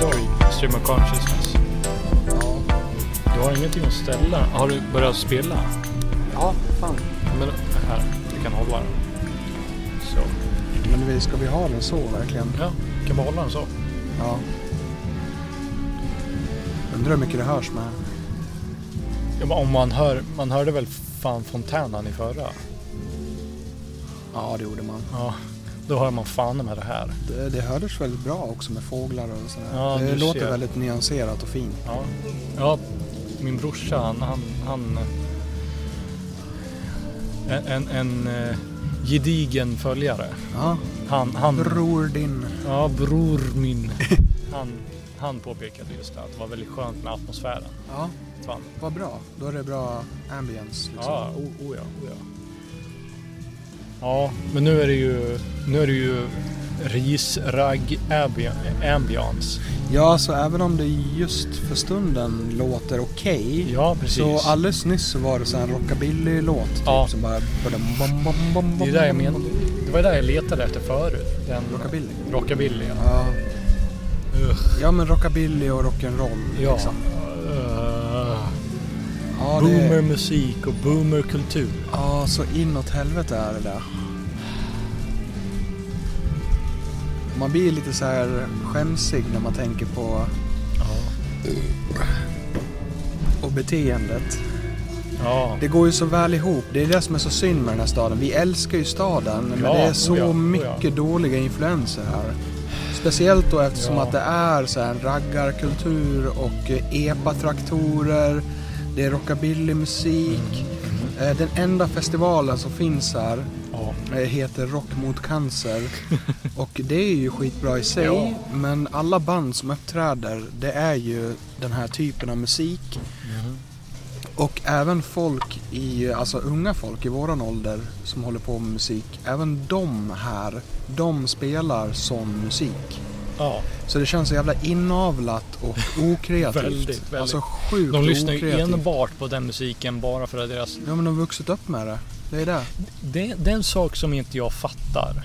Stream of Consciousness. Du har ingenting att ställa. Har du börjat spela? Ja, fan. Men här, du kan hålla den. Så. Men vi- ska vi ha den så verkligen? Ja, kan bara hålla den så. Ja. Undrar hur mycket det hörs med. Ja, men om man hör, man hörde väl fan fontänen i förra? Ja, det gjorde man. Ja, då hör man fan med det här. Det, det hördes väldigt bra också med fåglar och sådär. Ja, det du låter ser. väldigt nyanserat och fint. Ja, ja min brorsa han... han, han en, en, en eh, gedigen följare. Ja, Han, han, bror din. ja, bror min. Han, han påpekade just det, att det var väldigt skönt med atmosfären. liksom- Ja, Fan. vad bra. Då är det bra ambience. Liksom. Ja, o, o ja, o ja. Ja, men nu är det ju, nu är det ju ris, ragg, ambi- ambiance. Ja, så även om det just för stunden låter okej. Ja, precis. så alldeles nyss så var det så här en rockabilly-låt. Typ, Ja. Som bara... började bom, bom, bom, det är bom, det jag bom, men, bom. Det var det jag letade efter förut. Den Rockabilly. rockabilly. ja. Ja. Ugh. ja, men rockabilly och rock'n'roll. Ja. Liksom. Eh, Ja, det, Boomermusik och boomerkultur. ja, så inåt helvete är det där. Man blir lite så här skämsig när man tänker på och beteendet. Ja. Det går ju så väl ihop. Det är det som är så synd med den här staden. Vi älskar ju staden, men Ja, det är så oh ja, oh ja. mycket dåliga influenser här. Speciellt då eftersom Ja. att det är så här en raggarkultur och eh, epatraktorer. Det är rockabillymusik. Mm, Eh, Den enda festivalen som finns här ja. eh, heter Rock mot cancer. och det är ju skitbra i sig. Ja. Men alla band som uppträder, det är ju den här typen av musik. Mm. Och även folk i, alltså unga folk i våran ålder som håller på med musik, även de här, de spelar sån musik. ja. Så det känns så jävla inavlat och okreativt. Väldigt, väldigt. Alltså sjukt De lyssnar ju okreativt. enbart på den musiken bara för att deras... Ja men de har vuxit upp med det. Det är det. Det, det är en sak som inte jag fattar.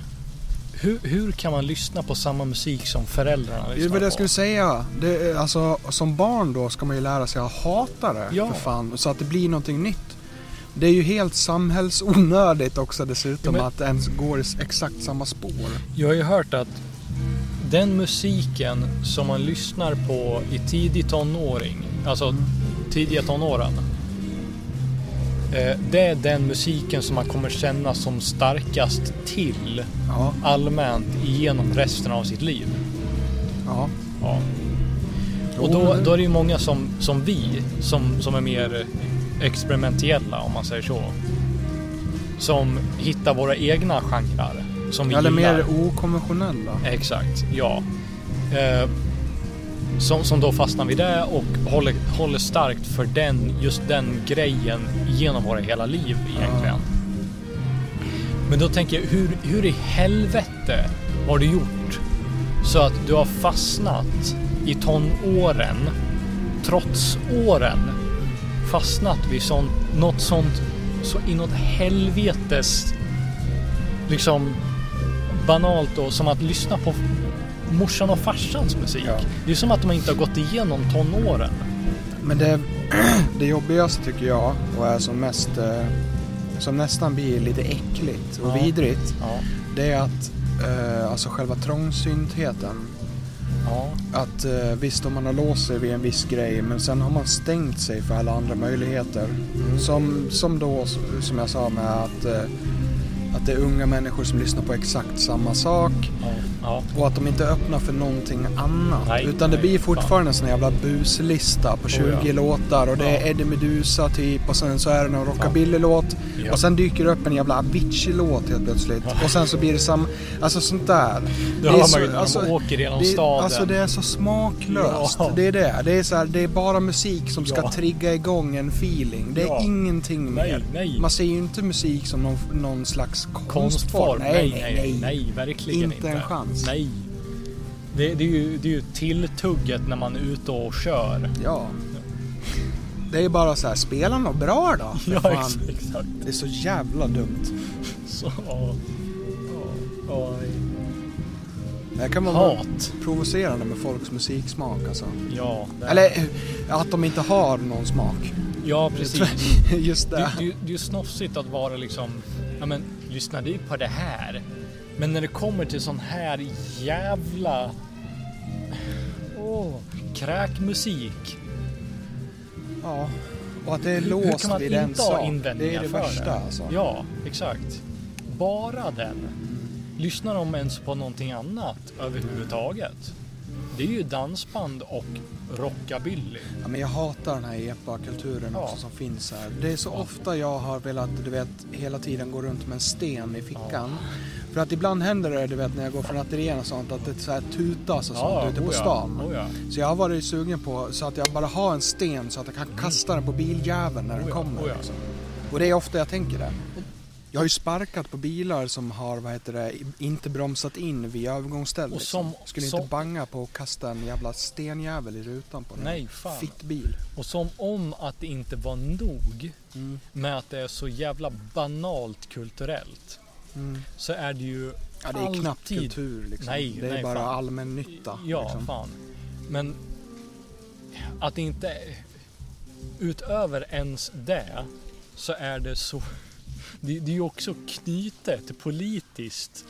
Hur, hur kan man lyssna på samma musik som föräldrarna Det är lyssnar väl det jag på? skulle säga. Det är, alltså, som barn då ska man ju lära sig att hata det Ja. för fan. Så att det blir någonting nytt. Det är ju helt samhällsonödigt också dessutom Ja, men- att det ens går i exakt samma spår. Jag har ju hört att den musiken som man lyssnar på i tidig tonåring, alltså tidiga tonåren. eh, Det är den musiken som man kommer känna som starkast till Ja, allmänt genom resten av sitt liv. ja. Ja. Jo, Och då, men- då är det ju många som, som vi, som, som är mer experimentella om man säger så. Som hittar våra egna genrer. Som vi Eller gillar. mer okonventionella. Exakt, ja. Eh, som, som då fastnar vid det och håller, håller starkt för den, just den grejen genom våra hela liv egentligen. Men då tänker jag, hur, hur i helvete har du gjort så att du har fastnat i tonåren, trots åren, fastnat vid sån, något sånt så inåt helvetes liksom banalt och som att lyssna på morsan och farsans musik. Ja. Det är som att de inte har gått igenom tonåren. Men det, det jobbigaste tycker jag och är som mest eh, som nästan blir lite äckligt och Ja. vidrigt. Ja. Det är att eh, alltså själva trångsyntheten. ja. Att eh, visst om man har låst sig vid en viss grej men sen har man stängt sig för alla andra möjligheter. Mm. Som, som då som jag sa med att, eh, att det är unga människor som lyssnar på exakt samma sak. ja. ja. Och att de inte öppnar för någonting annat. Nej, utan nej, det Oh, blir fortfarande en sån jävla buslista på 20 ja. låtar och det är Ja. Eddie Meduza typ och sen så är det någon rockabilly-låt. Ja. Och sen dyker det upp en jävla Avicii-låt helt plötsligt. Och sen så blir det samma... Alltså sånt där. Det är hör så- man ju när alltså, de åker genom det, staden. Alltså det är så smaklöst. Ja. Det är det. Det är, så här, det är bara musik som ska Ja. trigga igång en feeling. Det är Ja. ingenting Nej, mer. nej. Man ser ju inte musik som någon, någon slags Konstform? konstform. Nej, nej, nej, verkligen inte. Inte en chans. Nej. Det, det, är ju, det är ju tilltugget när man är ute och kör. Ja. Det är ju bara så här, spela något bra då. För Ja, fan. ex- exakt. Det är så jävla dumt. Så, ja. Ja, ja. Det här kan man vara Hat. provocerande med folks musiksmak alltså. Ja, det- Eller eh, att de inte har någon smak. ja precis. Just Det, det. det, det är ju snofsigt att vara liksom, ja men lyssnar du på det här? Men när det kommer till sån här jävla åh, kräkmusik. Ja. Och att det är Hur låst kan man vid en inte ha sak. Det invändningar är det för värsta alltså. Ja, exakt. Bara den. Lyssnar de ens på någonting annat överhuvudtaget? Det är ju dansband och rockabilly. Ja, men jag hatar den här epa-kulturen Ja. också som finns här. Det är så Ja. ofta jag har velat, du vet, hela tiden gå runt med en sten i fickan. För att ibland händer det, du vet, när jag går från ateljén och sånt, att det så här tutas och sånt ute på oja, stan. oja. Så jag har varit sugen på så att jag bara har en sten så att jag kan kasta den på biljäveln när den Mm. Oh ja, kommer. oh ja. liksom. Och det är ofta jag tänker det. Jag har ju sparkat på bilar som har, vad heter det, inte bromsat in vid övergångsstället. Och som- liksom. Skulle som- inte banga på att kasta en jävla stenjävel i rutan på den. Nej, fan. Fittbil. Och som om att det inte var nog Mm. med att det är så jävla banalt kulturellt Mm. så är det ju Ja, det är knappt alltid- kultur liksom. Nej, det är nej, bara fan. allmännytta. Ja, liksom. fan. Men att det inte utöver ens det så är det så. Det, det är ju också knutet politiskt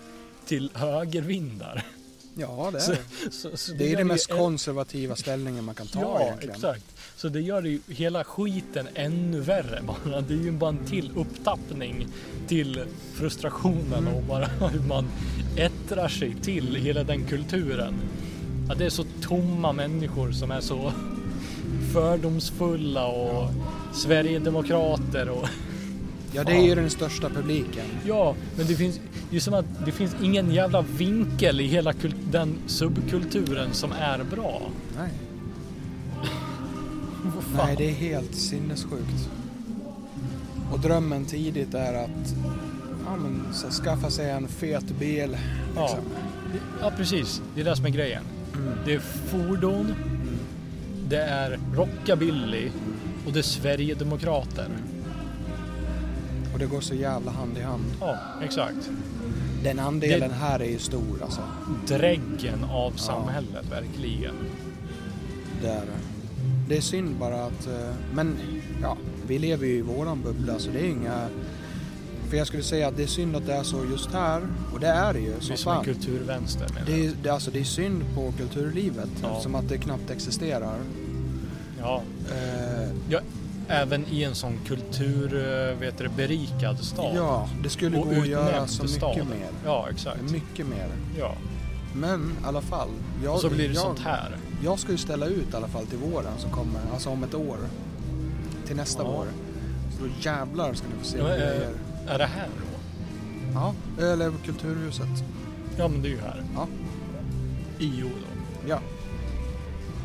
till högervindar. ja det är Så- det. Så, så Det gör är den mest ju- konservativa ställningen man kan ta Ja, egentligen. exakt. Så det gör ju hela skiten ännu värre bara. Det är ju bara en till upptappning till frustrationen Mm. och bara hur man ättrar sig till hela den kulturen. Att det är så tomma människor som är så fördomsfulla och Sverigedemokrater och Ja, det är ju den största publiken. ja, men det finns det är som att det finns ingen jävla vinkel i hela kul- den subkulturen som är bra. Nej, Vad fan? Nej det är helt sinnessjukt. Och drömmen tidigt är att ja, men, så här, skaffa sig en fet bil. Ja. Liksom. ja, precis. Det är det som är grejen. Mm. Det är fordon, det är rockabilly och det är Sverigedemokrater. Mm. Och det går så jävla hand i hand. Ja, exakt. Den andelen här är ju stor alltså. Dräggen av samhället, verkligen. Det är det. Det är synd bara att, eh, men ja, vi lever ju i våran bubbla så det är inga... För jag skulle säga att det är synd att det är så just här, och det är det ju Det är som som en fan. kulturvänster. menar Det jag. är, det, är alltså, det är synd på kulturlivet Ja. eftersom att det knappt existerar. Ja. Eh, ja, även i en sån kultur, eh, vet du, det, berikad stad. ja, det skulle och gå att göra utnämnd så till mycket stad. mer. Ja, exakt. Mycket mer. Ja. Men i alla fall. Jag, Och så blir det jag, sånt här. Jag ska ju ställa ut i alla fall till våren som kommer, alltså om ett år. Till nästa Ja. vår. Så då jävlar ska ni få se Ja, vad men, jag eh, gör. Är det här då? Ja, eller Kulturhuset. Ja, men det är ju här. Ja. IO då. Ja.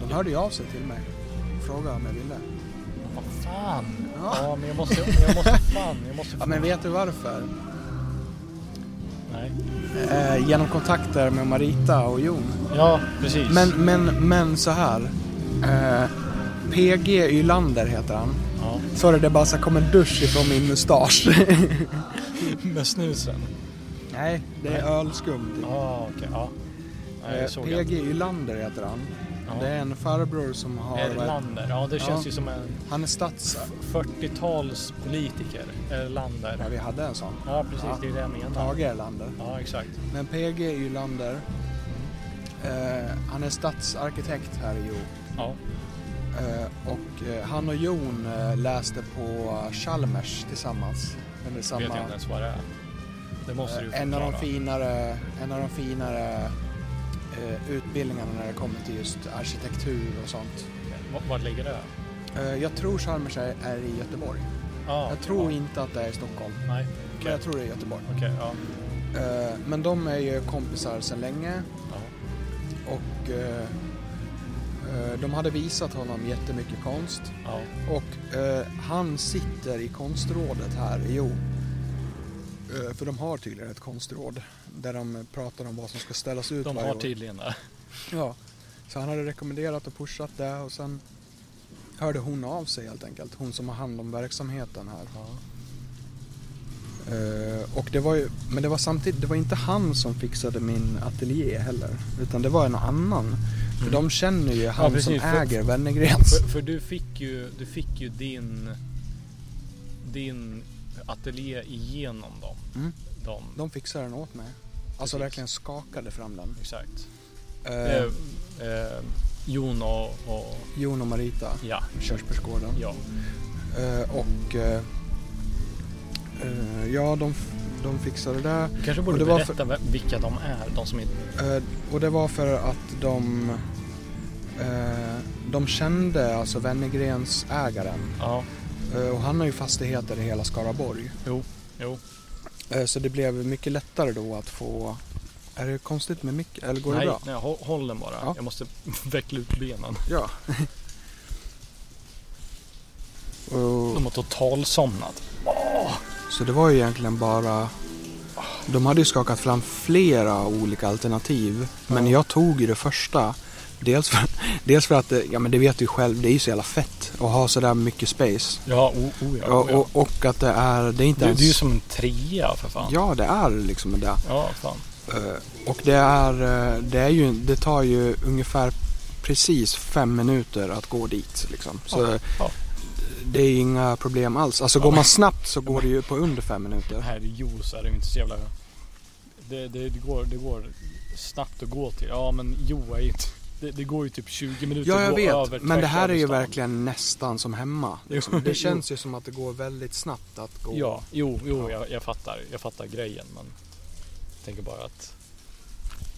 De hörde ju av sig till mig och frågade om jag ville. Vad fan. Ja. Ja, men jag måste, jag måste fan, jag måste Ja, fan. men vet du varför? Nej. Eh, genom kontakter med Marita och Jon. Ja, precis. Men, men, men så här. Eh, PG Ylander heter han. Ja. Sorry, det bara så här kom en dusch ifrån min mustasch. Med snusen? Nej, det är ölskum. typ. Ja, ah, okej. Ja. Nej, Eh, jag såg PG Ylander heter han. Ja. Det är en farbror som har... Erlander. Ja, det känns ju Ja. som en Han är stats... 40-talspolitiker. Erlander. Ja, vi hade en sån. Ja, precis. Ja. Det är det jag menar. Tage Erlander. Ja, exakt. Men PG Ylander, Mm. eh, han är stadsarkitekt här i Hjo. Ja. Eh, och eh, han och Jon eh, läste på Chalmers tillsammans. Under samma, Vet jag inte ens vad det är. Det måste du ju eh, en, av de förklara. finare, en av de finare eh, utbildningarna när det kommer till just arkitektur och sånt. V- Var ligger det? Eh, jag tror Chalmers är, är i Göteborg. Ja, Jag tror ja. inte att det är i Stockholm. Nej, Men okej. jag tror det är i Göteborg. Okej, ja. Eh, men de är ju kompisar sedan länge. ja. Och eh, eh, de hade visat honom jättemycket konst. Ja. Och eh, han sitter i konstrådet här i Jo. Eh, för de har tydligen ett konstråd där de pratar om vad som ska ställas ut De varje har år. tydligen det. Ja. Så han hade rekommenderat och pushat det och sen hörde hon av sig helt enkelt. Hon som har hand om verksamheten här. Ja. Eh, och det var ju, men det var samtidigt, det var inte han som fixade min ateljé heller. Utan det var en annan. För Mm. de känner ju han precis, som för- äger Wennergrens. För, för du fick ju, du fick ju din, din ateljé igenom dem. Mm. De, De fixade den åt mig. Alltså Precis. verkligen skakade fram den. Exakt. Eh, Eh, eh, Jon och, och Jon och Marita, ja, körsbärsgården. ja. Eh, och eh, eh, ja, de, f- de fixade det. Du kanske Och borde det var berätta vem- vilka de är, de som inte... Eh, och det var för att de eh, de kände alltså Wennergrens ägaren Ja, Eh, och han har ju fastigheter i hela Skaraborg. jo. Eh, så det blev mycket lättare då att få är det konstigt med mick eller går nej, det bra? nej, håll, håll den bara. Ja. Jag måste veckla ut benen. Ja. De och, har totalsomnat. så det var ju egentligen bara de hade ju skakat fram flera olika alternativ men Ja. jag tog ju det första dels för, dels för att det, ja men det vet du ju själv det är ju så jävla fett att ha sådär mycket space Ja, o, o, ja, Ja, o, ja. och, och att det är, det är inte Du, ens... du är ju som en trea för fan. Ja, det är liksom det. ja fan. Eh, Och det är, eh, det är ju, det tar ju ungefär precis fem minuter att gå dit liksom. Så ja. det är inga problem alls. Alltså går Ja. man snabbt så går det ju på under fem minuter. Här i Jos är det ju inte så jävla... Det, det, det, går, det går snabbt att gå till. Ja men Jo är ju inte... Det, det går ju typ 20 minuter Ja, att jag gå över vet. Men det tvärs här är över ju stan. verkligen nästan som hemma. Jo, Liksom. Det jo. känns ju som att det går väldigt snabbt att gå. Ja, jo, jo Ja. jag, jag, fattar, jag fattar grejen men jag tänker bara att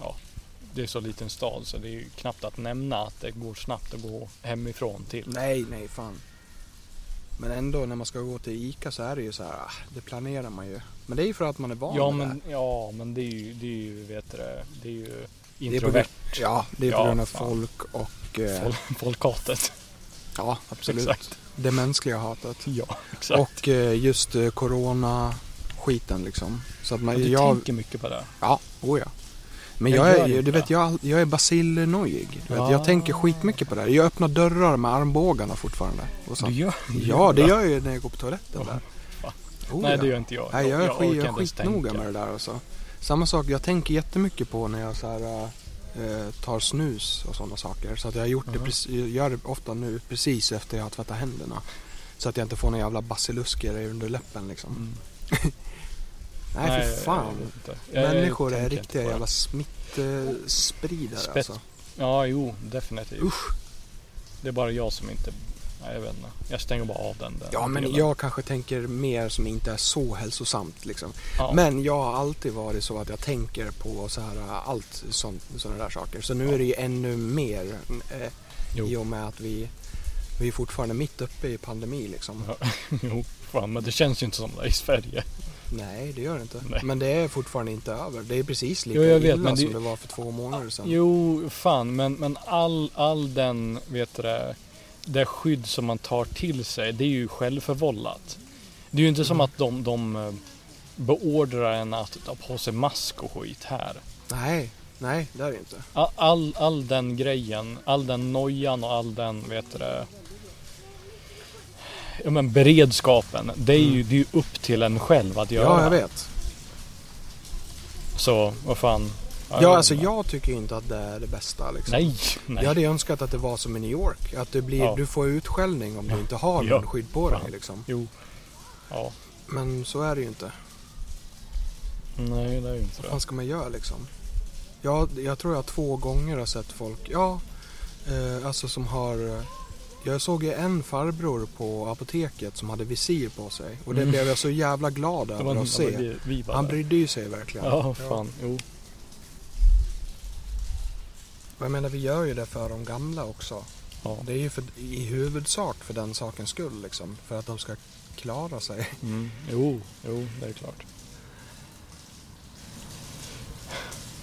ja, det är så liten stad så det är ju knappt att nämna att det går snabbt att gå hemifrån till. Nej, nej, fan. Men ändå när man ska gå till ICA så är det ju så här, ah, det planerar man ju. Men det är ju för att man är van Ja med det. men, ja, men det är ju, det är ju, vet du det, det är ju Det är på introvert grund- Ja, det är på Ja, grund av fan. folk och... eh, fol- folkhatet. Ja, absolut. Exakt. Det mänskliga hatet. Ja, exakt. Och eh, just eh, corona-skiten liksom. Så att man... du Jag, tänker mycket på det. ja, oh ja. Men Jag jag, gör är, ju- inte du vet, det. jag, jag är basilnojig. Du vet, Ah. jag tänker skitmycket på det här. Jag öppnar dörrar med armbågarna fortfarande. Och så. Du gör Ja, det gör jag ju när jag går på toaletten där. fan. Oh, Nej, ja. det gör inte jag. Nej, jag, är skit, jag är orkar inte ens skitnoga tänka. med det där alltså. Samma sak, jag tänker jättemycket på när jag så här, eh, tar snus och sådana saker. Så att jag, har gjort det Mhm. precis, jag gör det ofta nu precis efter jag har tvättat händerna. Så att jag inte får några jävla basilusker under läppen liksom. Mm. Nej, Nej, för jag- fan. jag vet inte. Jag- jag Människor är tänker inte riktiga på det. jävla smittspridare Spets- alltså. Ja, jo, definitivt. Usch. Det är bara jag som inte... Nej, jag vet inte. Jag stänger bara av den där. Ja, men delen. jag kanske tänker mer som inte är så hälsosamt liksom. Ja. Men jag har alltid varit så att jag tänker på så här, eh, allt sånt, sådana där saker. Så nu är det ju ännu mer eh, i Jo. och med att vi, vi är fortfarande mitt uppe i pandemi liksom. Ja. jo, fan, men det känns ju inte som det i Sverige. Nej, det gör det inte. Nej. Men det är fortfarande inte över. Det är precis lika Jo, jag vet, illa men det- som det var för två månader sedan. Jo, fan, men, men all, all den, vet du det, det skydd som man tar till sig, det är ju självförvållat. Det är ju inte som Mm. att de, de eh, beordrar en att ta på sig mask och skit här. Nej, nej, det är det inte. All, all, all den grejen, all den nojan och all den, vet du det, ja, men beredskapen. Det är, ju, det är ju upp till en själv att göra. Mm. Ja, jag vet. Så. Så, vad fan. Jag vet Ja, alltså inte. jag tycker ju inte att det är det bästa liksom. Nej, nej. Jag hade ju önskat att det var som i New York. Att du, blir, Ja. du får utskällning om du inte har Ja. någon skydd på dig Fan. liksom. Jo. Ja. Men så är det ju inte. Nej, det är ju inte Vad det. fan ska man göra liksom? Jag, jag tror jag två gånger har sett folk, ja, eh, alltså som har... eh, Jag såg ju en farbror på apoteket som hade visir på sig och det Mm. blev jag så jävla glad Det över var att se. vi, vi bara Han där. brydde ju sig verkligen. Ja, fan. Jo. Och Jag menar vi gör ju det för de gamla också. Ja. Det är ju för, i huvudsak för den sakens skull liksom. För att de ska klara sig. Mm. Jo, jo, det är klart.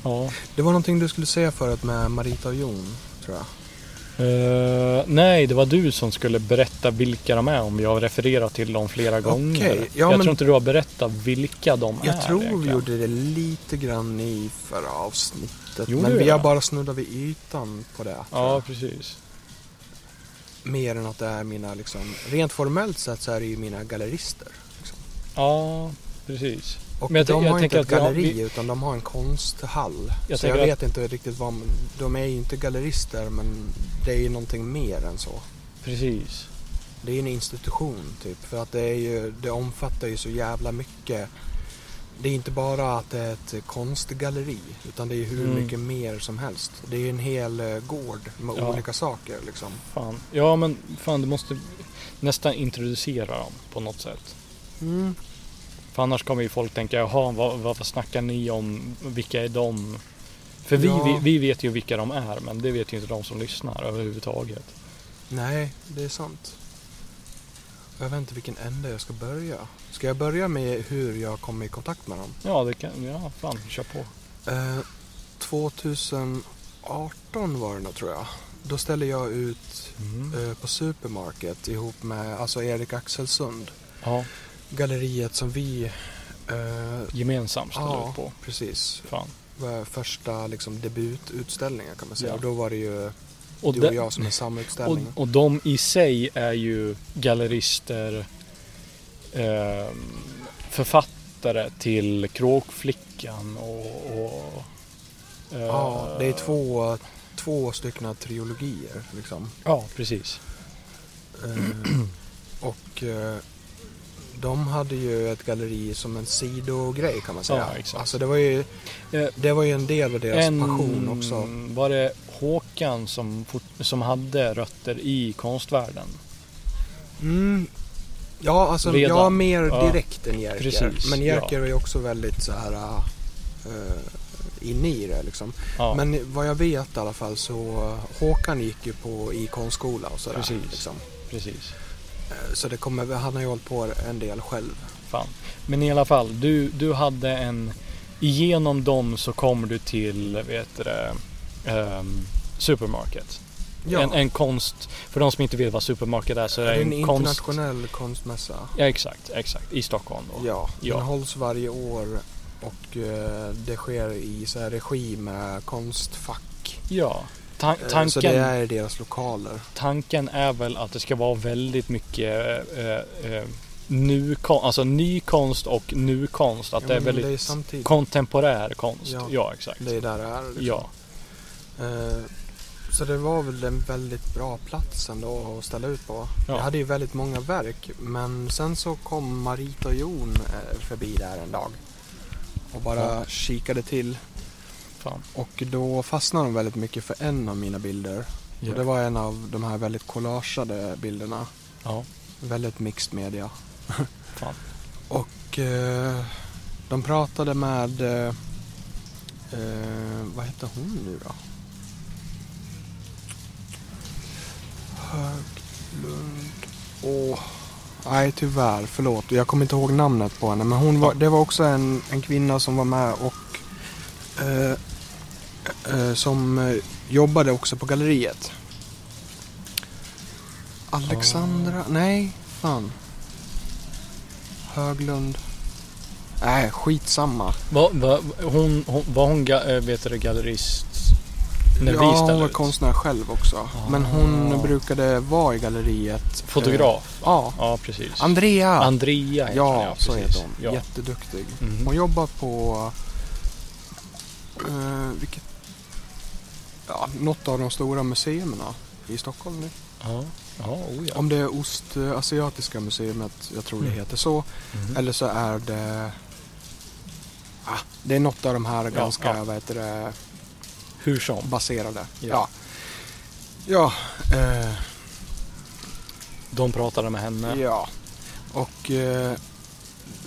Ja. Det var någonting du skulle säga förut med Marita och Jon, tror jag. Eh, nej, det var du som skulle berätta vilka de är om jag har refererat till dem flera gånger. Okej, ja, jag men- tror inte du har berättat vilka de är. Jag tror vi egentligen. gjorde det lite grann i förra avsnittet. Gjorde men vi vi har det? bara snuddat vid ytan på det. tror Ja, jag. precis. Mer än att det är mina, liksom, rent formellt sett så är det ju mina gallerister. Ja, precis. Och Men jag de tänk- jag har inte tänker ett att vi har- galleri vi- utan de har en konsthall. Jag så jag tänker vet inte riktigt vad, man- de är ju inte gallerister men det är ju någonting mer än så. Precis. Det är ju en institution typ för att det, är ju, det omfattar ju så jävla mycket. Det är inte bara att det är ett konstgalleri utan det är ju hur Mm. mycket mer som helst. Det är ju en hel eh, gård med Ja. olika saker liksom. Fan. Ja men fan du måste nästan introducera dem på något sätt. Mm. För annars kommer ju folk tänka, jaha vad, varför snackar ni om, vilka är de? För vi, Ja. vi, vi vet ju vilka de är men det vet ju inte de som lyssnar överhuvudtaget. Nej, det är sant. Jag vet inte vilken ände jag ska börja. Ska jag börja med hur jag kom i kontakt med dem? Ja, det kan, ja fan kör på. Eh, 2018 var det nog tror jag. Då ställde jag ut Mm. eh, på Supermarket ihop med alltså Erik Axelsund. Ja, Galleriet som vi... Eh, gemensamt ställer ja, upp på. precis. Fan. Var Första liksom, debututställningen kan man säga. Ja. Och då var det ju Och, du de- och jag som är och, samutställningen. och de i sig är ju gallerister, eh, författare till Kråkflickan och... och eh, Ja, det är två, två stycken trilogier liksom. Ja, precis. Eh, och eh, de hade ju ett galleri som en sidogrej kan man säga. Ja, exakt. Alltså det var ju, Eh, det var ju en del av deras en, passion också. Var det Håkan som, fort- som hade rötter i konstvärlden? Mm. Ja, alltså Redan. jag mer Ja. direkt än Jerker. Precis, Men ja. Jerker var ju också väldigt så här eh, inne i det liksom. Ja, Men vad jag vet i alla fall så eh, Håkan gick ju på i konstskola och sådär. Precis. Liksom. precis. Eh, Så det kommer, han har ju hållit på en del själv. Fan. Men i alla fall, du, du hade en... Genom dem så kom du till, vet du det, ehm, Supermarket. Ja, En, en konst, för de som inte vet vad Supermarket är så är det det är en, en konst... internationell konstmässa. Ja, exakt, exakt. I Stockholm då. Ja, Ja. den hålls varje år och eh, det sker i så här regi med konstfack. Ja. Tan- Eh, Så tanken, det är... är deras lokaler. tanken är väl att det ska vara väldigt mycket eh, eh, nu, kon- alltså ny konst och nu konst. Att Ja, det är men väldigt det är samtidigt. kontemporär konst. Ja, Ja. exakt. Det är där det är. liksom. Ja, Eh, Så det var väl en väldigt bra plats ändå att ställa ut på. Ja. Jag hade ju väldigt många verk men sen så kom Marita och Jon eh, förbi där en dag och bara kikade till fan. och då fastnade de väldigt mycket för en av mina bilder. Ja. Och det var en av de här väldigt collageade bilderna. Ja, Väldigt mixed media. fan. Och eh, de pratade med, eh, eh, vad heter hon nu då? Höglund. Åh, nej tyvärr, förlåt. Jag kommer inte ihåg namnet på henne. Men hon var, det var också en, en kvinna som var med och eh, eh, som eh, jobbade också på galleriet. Alexandra, nej, fan. Höglund. Nej, skitsamma. Var, var, hon, hon, var hon ga, eh, vet du, det, gallerist när ja, vi hon ställde var ut? Ah. konstnär själv också. Men hon brukade vara i galleriet. Eh, Fotograf? Ja. Ja, precis. Andrea! Andrea heter hon, ja, så precis. heter hon. Ja. Jätteduktig. Mhm. Hon jobbar på... Eh, vilket... Ja, något av de stora museerna i Stockholm nu. Ja, ja, oh, ja. Om det är Ostasiatiska museet, jag tror det Mm. heter så. Mhm. Eller så är det... Ah, det är något av de här ganska, ja. vad heter det, Hur som. baserade. Ja. Ja. Ja. eh, De pratade med henne. ja. Och eh,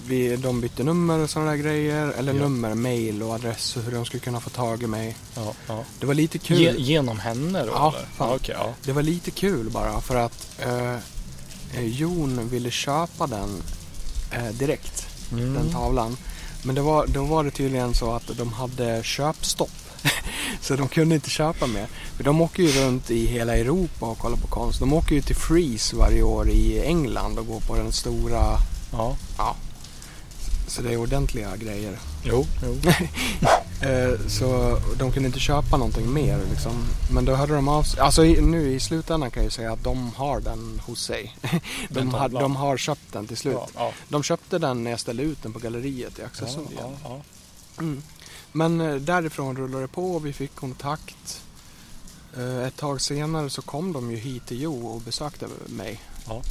vi, de bytte nummer och sådana där grejer. Eller Ja. nummer, mail och adress och hur de skulle kunna få tag i mig. Ja, ja. Det var lite kul. Ge, genom henne då? Ja, eller? fan. Ja, okej, ja. Det var lite kul bara för att eh, eh, Jon ville köpa den eh, direkt. Mm. den tavlan. Men det var, då var det tydligen så att de hade köpstopp. så de kunde inte köpa mer. För de åker ju runt i hela Europa och kollar på konst. De åker ju till Freeze varje år i England och går på den stora... ja. Ja. Så det är ordentliga grejer. Jo, jo. Eh, så de kunde inte köpa någonting mer liksom. Men då hörde de av sig. Alltså i, nu i slutändan kan jag ju säga att de har den hos sig. Den De, har, tavlan. de har köpt den till slut. Ja, ja. De köpte den när jag ställde ut den på galleriet i Ja, Axelsund ja, igen. ja. Mm. Men eh, därifrån rullade det på och vi fick kontakt. Eh, Ett tag senare så kom de ju hit till Jo och besökte mig. Ja.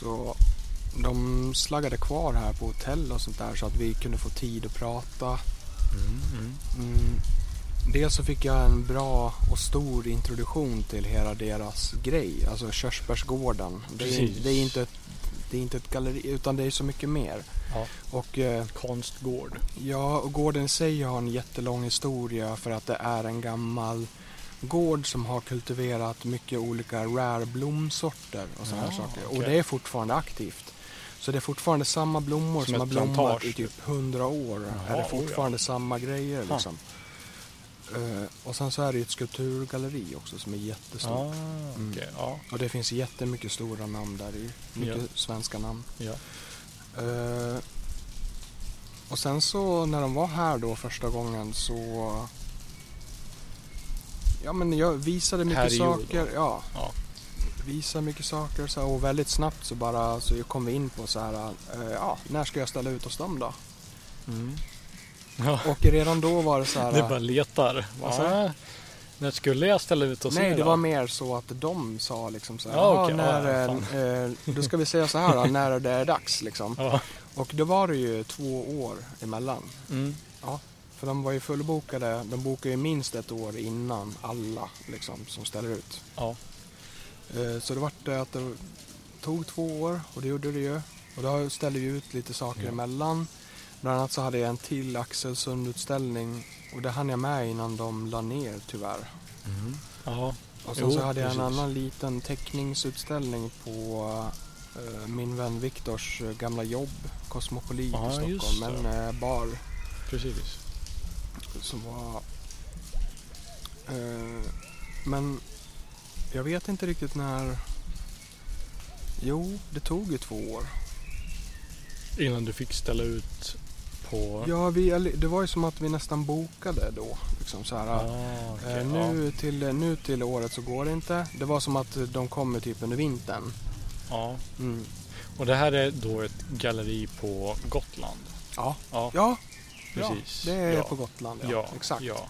Så de slaggade kvar här på hotell och sånt där så att vi kunde få tid att prata. Mm, mm. Mm. Dels så fick jag en bra och stor introduktion till hela deras grej, alltså körsbärsgården. Det är, Precis. det är, inte, ett, det är inte ett galleri utan det är så mycket mer. Ja. Och eh, Konstgård. Ja, och gården i sig har en jättelång historia för att det är en gammal gård som har kultiverat mycket olika rare blomsorter och sådana här Ah, saker. Och okej. det är fortfarande aktivt. Så det är fortfarande samma Som blommor som, ett har blommat plantage, i typ hundra år. Jaha, är det oh ja. fortfarande samma grejer Ha. liksom. Eh, och sen så är det ju ett skulpturgalleri också som är jättestort. Ah, Mm. okej, ja, Och det finns jättemycket stora namn där i. Mycket Ja. svenska namn. ja. Eh, och sen så när de var här då första gången så Ja men jag visade mycket Här i jul saker. då? Ja. Ja. Visade mycket saker så här, och väldigt snabbt så bara så kom vi in på så här eh, ja, när ska jag ställa ut hos dem då? Mm. ja. Och redan då var det så här Det bara letar. Vad sa du? Ja. När skulle jag ställa ut och se Nej, det då? var mer så att de sa liksom så här, Ja, ja, okej, när, ja, eh, då ska vi säga så här då, när det är dags liksom. Ja. Och då var det ju två år emellan. Mm. För de var ju fullbokade, de bokade ju minst ett år innan alla liksom, som ställer ut. Ja. Eh, Så det vart det att det tog två år och det gjorde det ju. Och då ställde vi ut lite saker Ja. emellan. Bland annat så hade jag en till Axelsund-utställning och det hann jag med innan de la ner tyvärr. Mm. ja. Och sen Jo, så hade jag en precis. annan liten teckningsutställning på eh, min vän Viktors eh, gamla jobb, Cosmopolit Ja, i just Stockholm, det. en eh, bar. Precis. som var... Eh, men jag vet inte riktigt när... Jo, det tog ju två år. Innan du fick ställa ut på... Ja, vi, eller det var ju som att vi nästan bokade då. Liksom så här, Ah, okej, eh, nu, till, nu till året så går det inte. Det var som att de kommer typ under vintern. ja. ja. Mm. Och det här är då ett galleri på Gotland. Ja. Ja, ja, precis. Ja, det är ja. på Gotland. Ja. Ja, Exakt. Ja,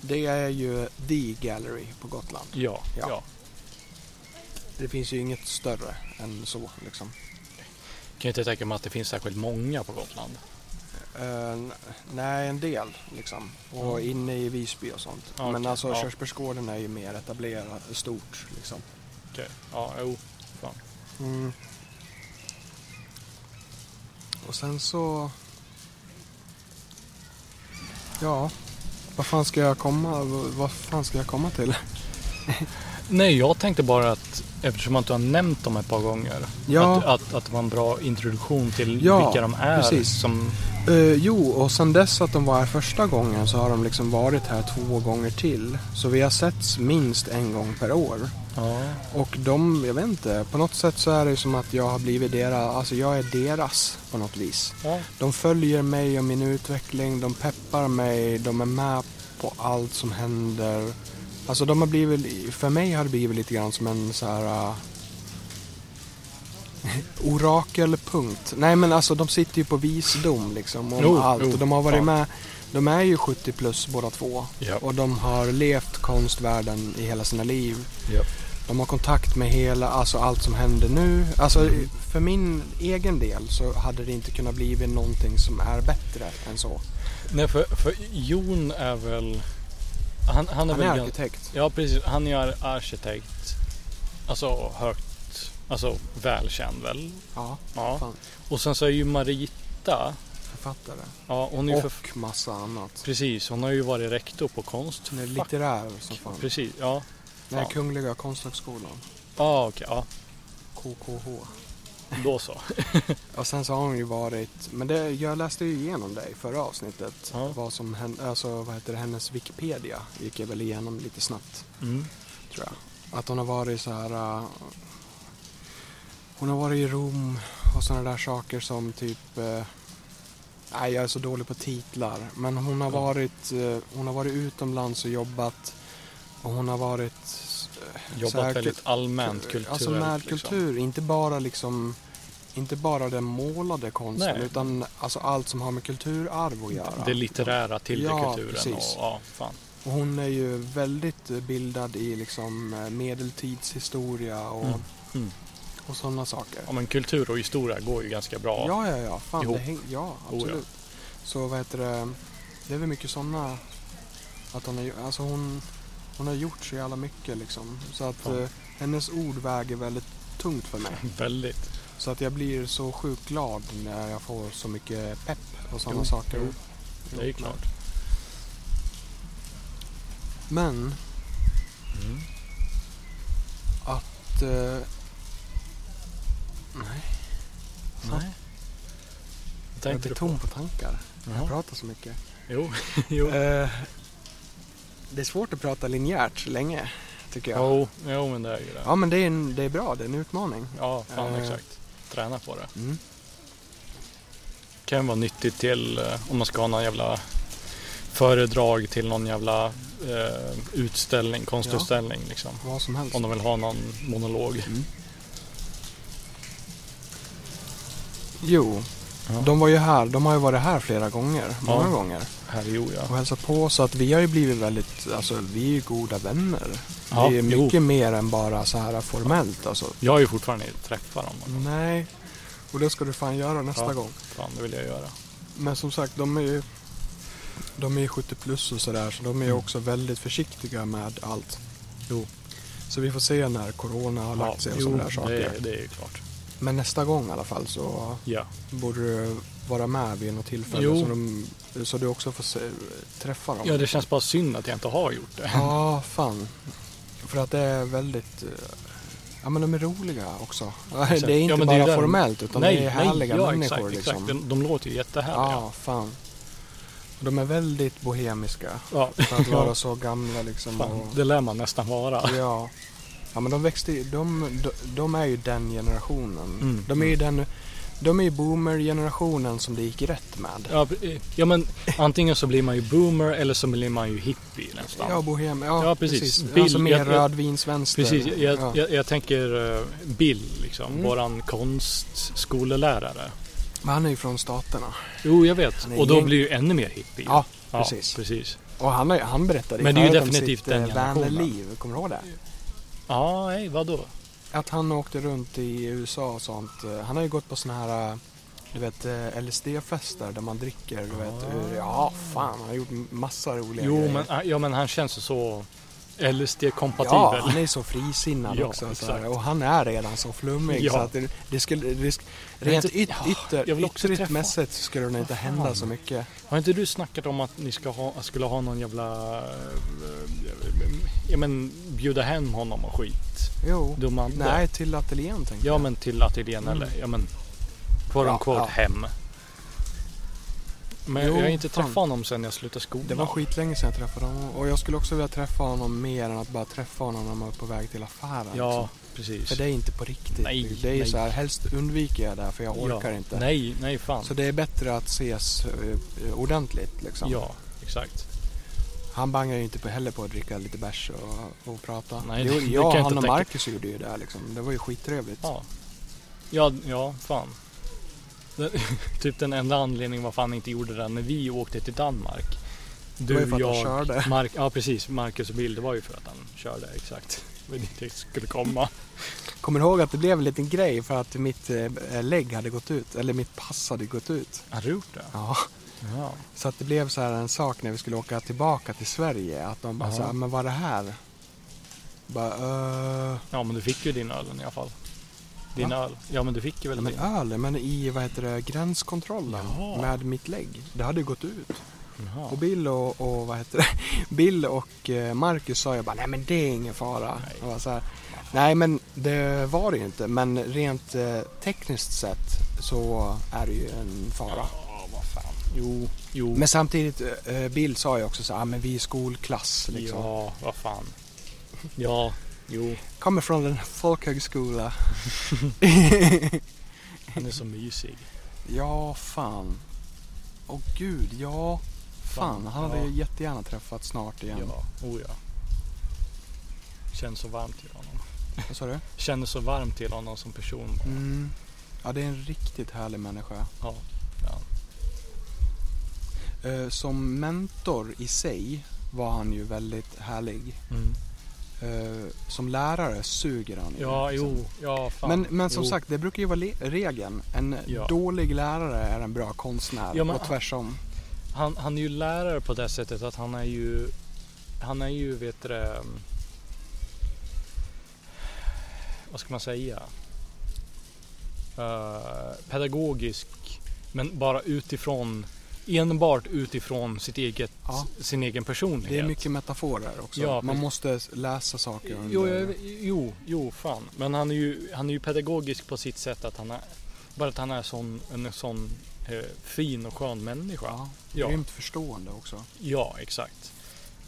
Det är ju The Gallery på Gotland. ja, ja. Ja. Det finns ju inget större än så liksom. Kan inte tänka mig att det finns särskilt många på Gotland. Eh, n- nej, en del liksom. Och Mm. inne i Visby och sånt. Ja, Men okej, alltså ja. körsbärsgården är ju mer etablerat, stort liksom. Mm. Okej. Ja, jo. Fan. Och sen så... Ja, vad fan ska jag komma, v- vad fan ska jag komma till? Nej, jag tänkte bara att eftersom att du har nämnt dem ett par gånger. Ja. Att, att, att det var en bra introduktion till Ja, vilka de är. precis. Som, Eh, jo, och sen dess att de var här första gången så har de liksom varit här två gånger till. Så vi har setts minst en gång per år. ja, Och de, jag vet inte, på något sätt så är det ju som att jag har blivit deras, alltså jag är deras på något vis. ja, De följer mig och min utveckling, de peppar mig, de är med på allt som händer. Alltså de har blivit, för mig har det blivit lite grann som en så här eh, orakelpunkt. Nej men alltså de sitter ju på visdom liksom om Jo, allt. jo, och de har varit fan. med, de är ju 70 plus båda två. Ja. Och de har levt konstvärlden i hela sina liv. ja. De har kontakt med hela, alltså allt som händer nu. Alltså Mm. för min egen del så hade det inte kunnat bli någonting som är bättre än så. Nej, för, för Jon är väl... Han, han är Han väl... är gan- arkitekt. Ja, precis. Han är ju arkitekt. Alltså högt... Alltså välkänd väl? Ja, Ja. fan. Och sen så är ju Marita... Författare. Ja, hon är ju förf- Och massa annat. Precis, hon har ju varit rektor på konst. Hon är litterär som fan. Precis, ja. Nej, fan. Kungliga Konsthögskolan. Ja, okej. Ja, KKH. då så. Och sen så har hon ju varit, men det, jag läste ju igenom dig förra avsnittet. Ja. Vad som hände, alltså vad heter det, hennes Wikipedia gick jag väl igenom lite snabbt. Mm. tror jag. Att hon har varit så här... eh, hon har varit i Rom och sådana där saker som typ... eh, Nej, äh, jag är så dålig på titlar. Men hon har varit, eh, hon har varit utomlands och jobbat. Och hon har varit... eh, så här- Jobbat väldigt allmänt kulturellt. Alltså liksom. närkultur, inte bara liksom... Inte bara den målade konsten Nej. utan alltså allt som har med kulturarv att göra. Liksom. Det litterära till Ja, kulturen. precis. Och, ja, fan. Och hon är ju väldigt eh, bildad i liksom eh, medeltidshistoria och, Mm. Mm. och sådana saker. Ja, men kultur och historia går ju ganska bra. Ja, ja, ja. Fan, Ihop. Oh, det häng, ja, ja. absolut. Så vad heter det? Det är väl mycket sådana... Att hon, är, alltså hon, hon har gjort så jävla mycket liksom. Så att Ja. eh, hennes ord väger väldigt tungt för mig. Väldigt. Så att jag blir så sjukt glad när jag får så mycket pepp och sådana Jo, saker. jo, Det är ju ihop med. klart. Men Mm. att... Eh, nej, Nej. Vad jag tänkte du blir på? tom på tankar. Jag Jaha. pratar så mycket. Jo, jo. Eh, det är svårt att prata linjärt länge, tycker jag. Jo, jo, men det är ju det. Ja, men det är, en, det är bra. Det är en utmaning. Ja, fan Eh. exakt. Träna på det. Mm. Kan vara nyttigt till eh, om man ska ha någon jävla föredrag till någon jävla eh, utställning, konstutställning liksom. Vad som helst. Om de vill ha någon monolog. Mm. Jo, Ja. de var ju här. De har ju varit här flera gånger. Många Ja. gånger. Här i Joja. Och hälsat på. Så att vi har ju blivit väldigt, alltså vi är ju goda vänner. Ja, det är jo. mycket mer än bara så här formellt alltså. Jag har ju fortfarande inte träffat dem. Nej, och det ska du fan göra nästa Ja. gång. Fan, det vill jag göra. Men som sagt, de är ju de är ju 70 plus och sådär så Mm. de är ju också väldigt försiktiga med allt. Jo. Så vi får se när corona har lagt sig och sådana där saker. det, är- det är ju klart. Men nästa gång i alla fall så Ja, borde du vara med vid något tillfälle Jo. så, de, så du också får se, träffa dem. ja det känns bara synd att jag inte har gjort det. Ja, fan. För att det är väldigt... eh, Ja, men de är roliga också. Exakt. Det är inte Ja, men det är bara ju den- formellt, utan det är härliga människor. exakt, liksom. exakt. De, de låter ju jättehärliga. Ja, fan. Och De är väldigt bohemiska Ja. för att vara så gamla liksom. Fan, och, det lär man nästan vara. ja. ja, men de växte ju- de, de, de är ju den generationen. Mm, De är ju den, de är ju boomer-generationen som det gick rätt med. Ja, eh, ja, men antingen så blir man ju boomer eller så blir man ju hippie nästan. Ja, bohem, ja, Ja, precis. precis. Bill- alltså mer jag- jag- rödvinsvänster. Precis, jag, ja. jag, jag tänker eh, Bill, liksom, Mm. våran konstskolelärare. Men han är ju från staterna. Jo, jag vet. Han är Och då gäng- blir det ju ännu mer hippie. Ja, precis. precis. Och han, har ju- han berättade Men det är ju förut om definitivt sitt, den eh, generationen. Vanliv, kommer du ihåg det? Ja, nej, vadå? Att han åkte runt i USA och sånt. Eh, Han har ju gått på såna här, eh, du vet, eh, LSD-fester där man dricker, du vet. Ah. Ur, ja, fan, han har gjort massa roliga Jo, grejer. men, ja, men han känns ju så Ja, LSD-kompatibel. han är så frisinnad Ja, också. Så exakt. här, och han är redan så flummig. Ja. Så att det, det skulle, det, sk- rent inte- yt, ja, ytter, jag vill också ytterligt träffa- mässigt så skulle det nog inte hända så mycket. Har inte du snackat om att ni ska ha, skulle ha någon jävla... eh, Ja, men bjuda hem honom och skit? Jo. De andra. Nej, till ateljén tänkte Ja, jag. men till ateljén Mm. eller ja, men quote Ja, unquote ja. hem. Men Jo, jag har inte fan. träffat honom sen jag slutade skolan. Det var skitlänge sedan jag träffade honom och jag skulle också vilja träffa honom mer än att bara träffa honom när man är på väg till affären. Ja, liksom. precis. För det är inte på riktigt. Nej, det är ju nej. så här, helst undviker jag det här för jag orkar ja. inte. Nej, nej fan. Så det är bättre att ses eh, ordentligt liksom. Ja, exakt. Han bangar ju inte på heller på att dricka lite bärs och, och prata. Nej, Jo, det- det kan jag jag, inte han och tänka. Marcus gjorde ju det här, liksom. Det var ju skittrevligt. Ja, ja, ja fan. Det, typ den enda anledningen varför han inte gjorde det när vi åkte till Danmark. det var ju för Du, att han jag, körde. Mark, ja precis, Marcus och Bill, det var ju för att han körde, exakt. Det var dit jag skulle komma. Kommer du ihåg att det blev en liten grej för att mitt eh, lägg hade gått ut, eller mitt pass hade gått ut. Har du gjort det? Ja. Ja. Så att det blev så här en sak när vi skulle åka tillbaka till Sverige. Att de bara Ja. så här, men vad är det här? Bara, "Eh, Ja, men du fick ju din ölen i alla fall. Din Va? öl. Ja, men du fick ju väl men din. öl, men i vad heter det, gränskontrollen Jaha. med mitt lägg. Det hade ju gått ut. Jaha. Och Bill och, och vad heter det, Bill och eh, Marcus sa ju bara, nej men det är ingen fara. Nej. Nej, var så här, nej men det var det ju inte. Men rent eh, tekniskt sett så är det ju en fara. Ja, vad fan. Jo, jo. Men samtidigt, eh, Bill sa ju också så här, "Ah, men vi är skolklass liksom. Ja, vad fan. Ja, jo. Kommer från en folkhögskola. Han är så mysig. Ja, fan. Åh gud, ja. Fan, han hade ja. ju jättegärna träffat snart igen. Ja, oh ja. Känner så varmt till honom. Vad sa du? Känner så varmt till honom som person. Mm. Ja, det är en riktigt härlig människa. Ja. Eh, som mentor i sig var han ju väldigt härlig. Mm. Eh, som lärare suger han ju. Ja, liksom. jo, ja, fan. Men, men som jo. sagt, det brukar ju vara le- regeln. En Ja. dålig lärare är en bra konstnär Ja, men- och tvärsom. Han, han är ju lärare på det sättet att han är ju, han är ju vet du det, mm, vad ska man säga? Eh, pedagogisk, men bara utifrån, enbart utifrån sitt eget, Ja. sin egen personlighet. Det är mycket metaforer också. Ja, Man precis. måste läsa saker under... Jo, jag, jo, jo, fan. Men han är, ju, han är ju pedagogisk på sitt sätt att han är, bara att han är sån, en sån eh, fin och skön människa. ja, Ja. Grymt förstående också. Ja, exakt.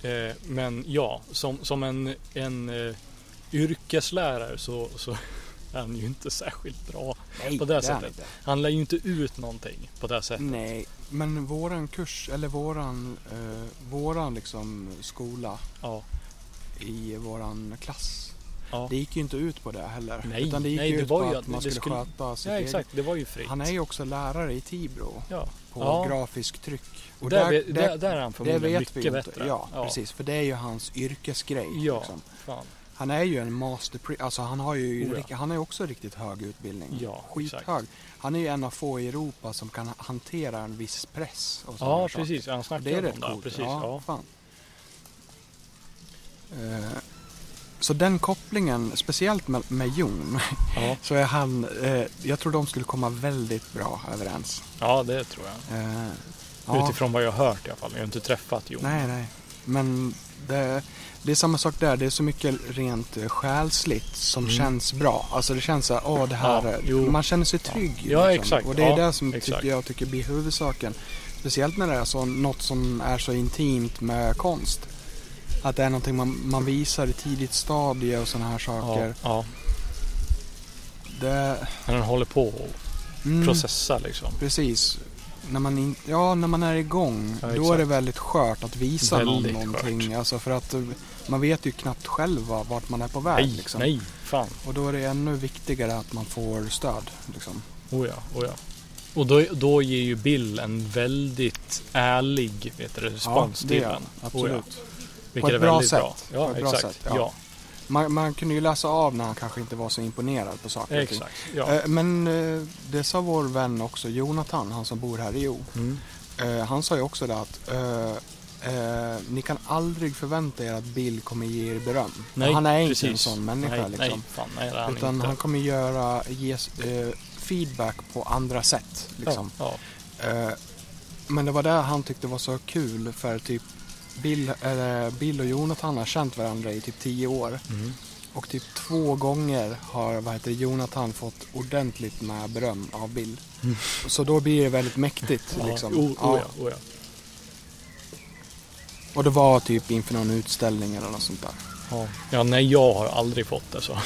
Eh, men ja, som, som en, en eh, yrkeslärare så, så är han ju inte särskilt bra. Nej, På det är han sättet. inte. Han lär ju inte ut någonting på det sättet. Nej, men våran kurs, eller våran, eh, våran liksom skola Ja, i våran klass. ja. Det gick ju inte ut på det heller. Nej, utan det gick nej, ju det ut var på ju att att man det skulle, skulle- sköta sitt ja exakt. Det var ju fritt. eget. Han är ju också lärare i Tibro ja. på Ja. grafisk tryck. Och där, där, där, är han det förmodligen vet vi mycket ju inte. bättre. Ja, precis. För det är ju hans yrkesgrej. Ja. Liksom. Fan. Han är ju en master pre- alltså han har ju Oh ja. rik- han har ju också riktigt hög utbildning. Ja, Skithög. Han är ju en av få i Europa som kan hantera en viss press. Och sådana Ja, saker. precis. Han Och Det är snackade om rätt det. coolt. Precis, ja, ja. Fan. Eh, Så den kopplingen, speciellt med, med Jon, Ja. så är han, eh, jag tror de skulle komma väldigt bra överens. ja, det tror jag. Eh, ja. Utifrån vad jag har hört i alla fall. Jag har inte träffat Jon. Nej, nej. Men det, det är samma sak där. Det är så mycket rent eh, själsligt som Mm. känns bra. Alltså det känns så här, åh det här, Ja, är- jo. man känner sig trygg. liksom. Ja, exakt. Och det är Ja, det som exakt. tycker jag tycker blir huvudsaken. Speciellt när det är så, något som är så intimt med konst. Att det är någonting man, man visar i tidigt stadie och sådana här ja, saker. ja. Det, Men han håller på och mm, processar liksom. Precis. När man, in, ja, när man är igång, Ja, då är exakt. det väldigt skört att visa Väldigt någon någonting. Alltså för att eh, man vet ju knappt själv va- vart man är på väg. Nej, liksom. nej, fan. Och då är det ännu viktigare att man får stöd. Liksom. Oh ja, oh ja. Och då, då ger ju Bill en väldigt ärlig vet du, respons Ja, det till gör den. han. Absolut. Oh Vilket ett är bra väldigt bra. sätt. Ja, På ett bra exakt. sätt, ja. man, man kunde ju läsa av när han kanske inte var så imponerad på saker ja. och ting. Exakt. Ja. Eh, Men eh, det sa vår vän också, Jonathan, han som bor här i Jo. Mm. Eh, Han sa ju också det att eh, eh, ni kan aldrig förvänta er att Bill kommer ge er beröm. Nej, han är inte precis. en sån människa. nej, liksom. nej, fan, nej, det är han Utan inte. han kommer göra, ge eh, feedback på andra sätt. Liksom. Ja, Eh, men det var det han tyckte var så kul för typ Bill, eller Bill och Jonathan har känt varandra i typ tio år. ja. Mm. Och typ två gånger har vad heter det, Jonathan fått ordentligt med beröm av Bill. Mm. Så då blir det väldigt mäktigt. ja. liksom. Oh, Ja. oh ja, oh ja. Och det var typ inför någon utställning eller något sånt där. Ja. ja, nej jag har aldrig fått det så.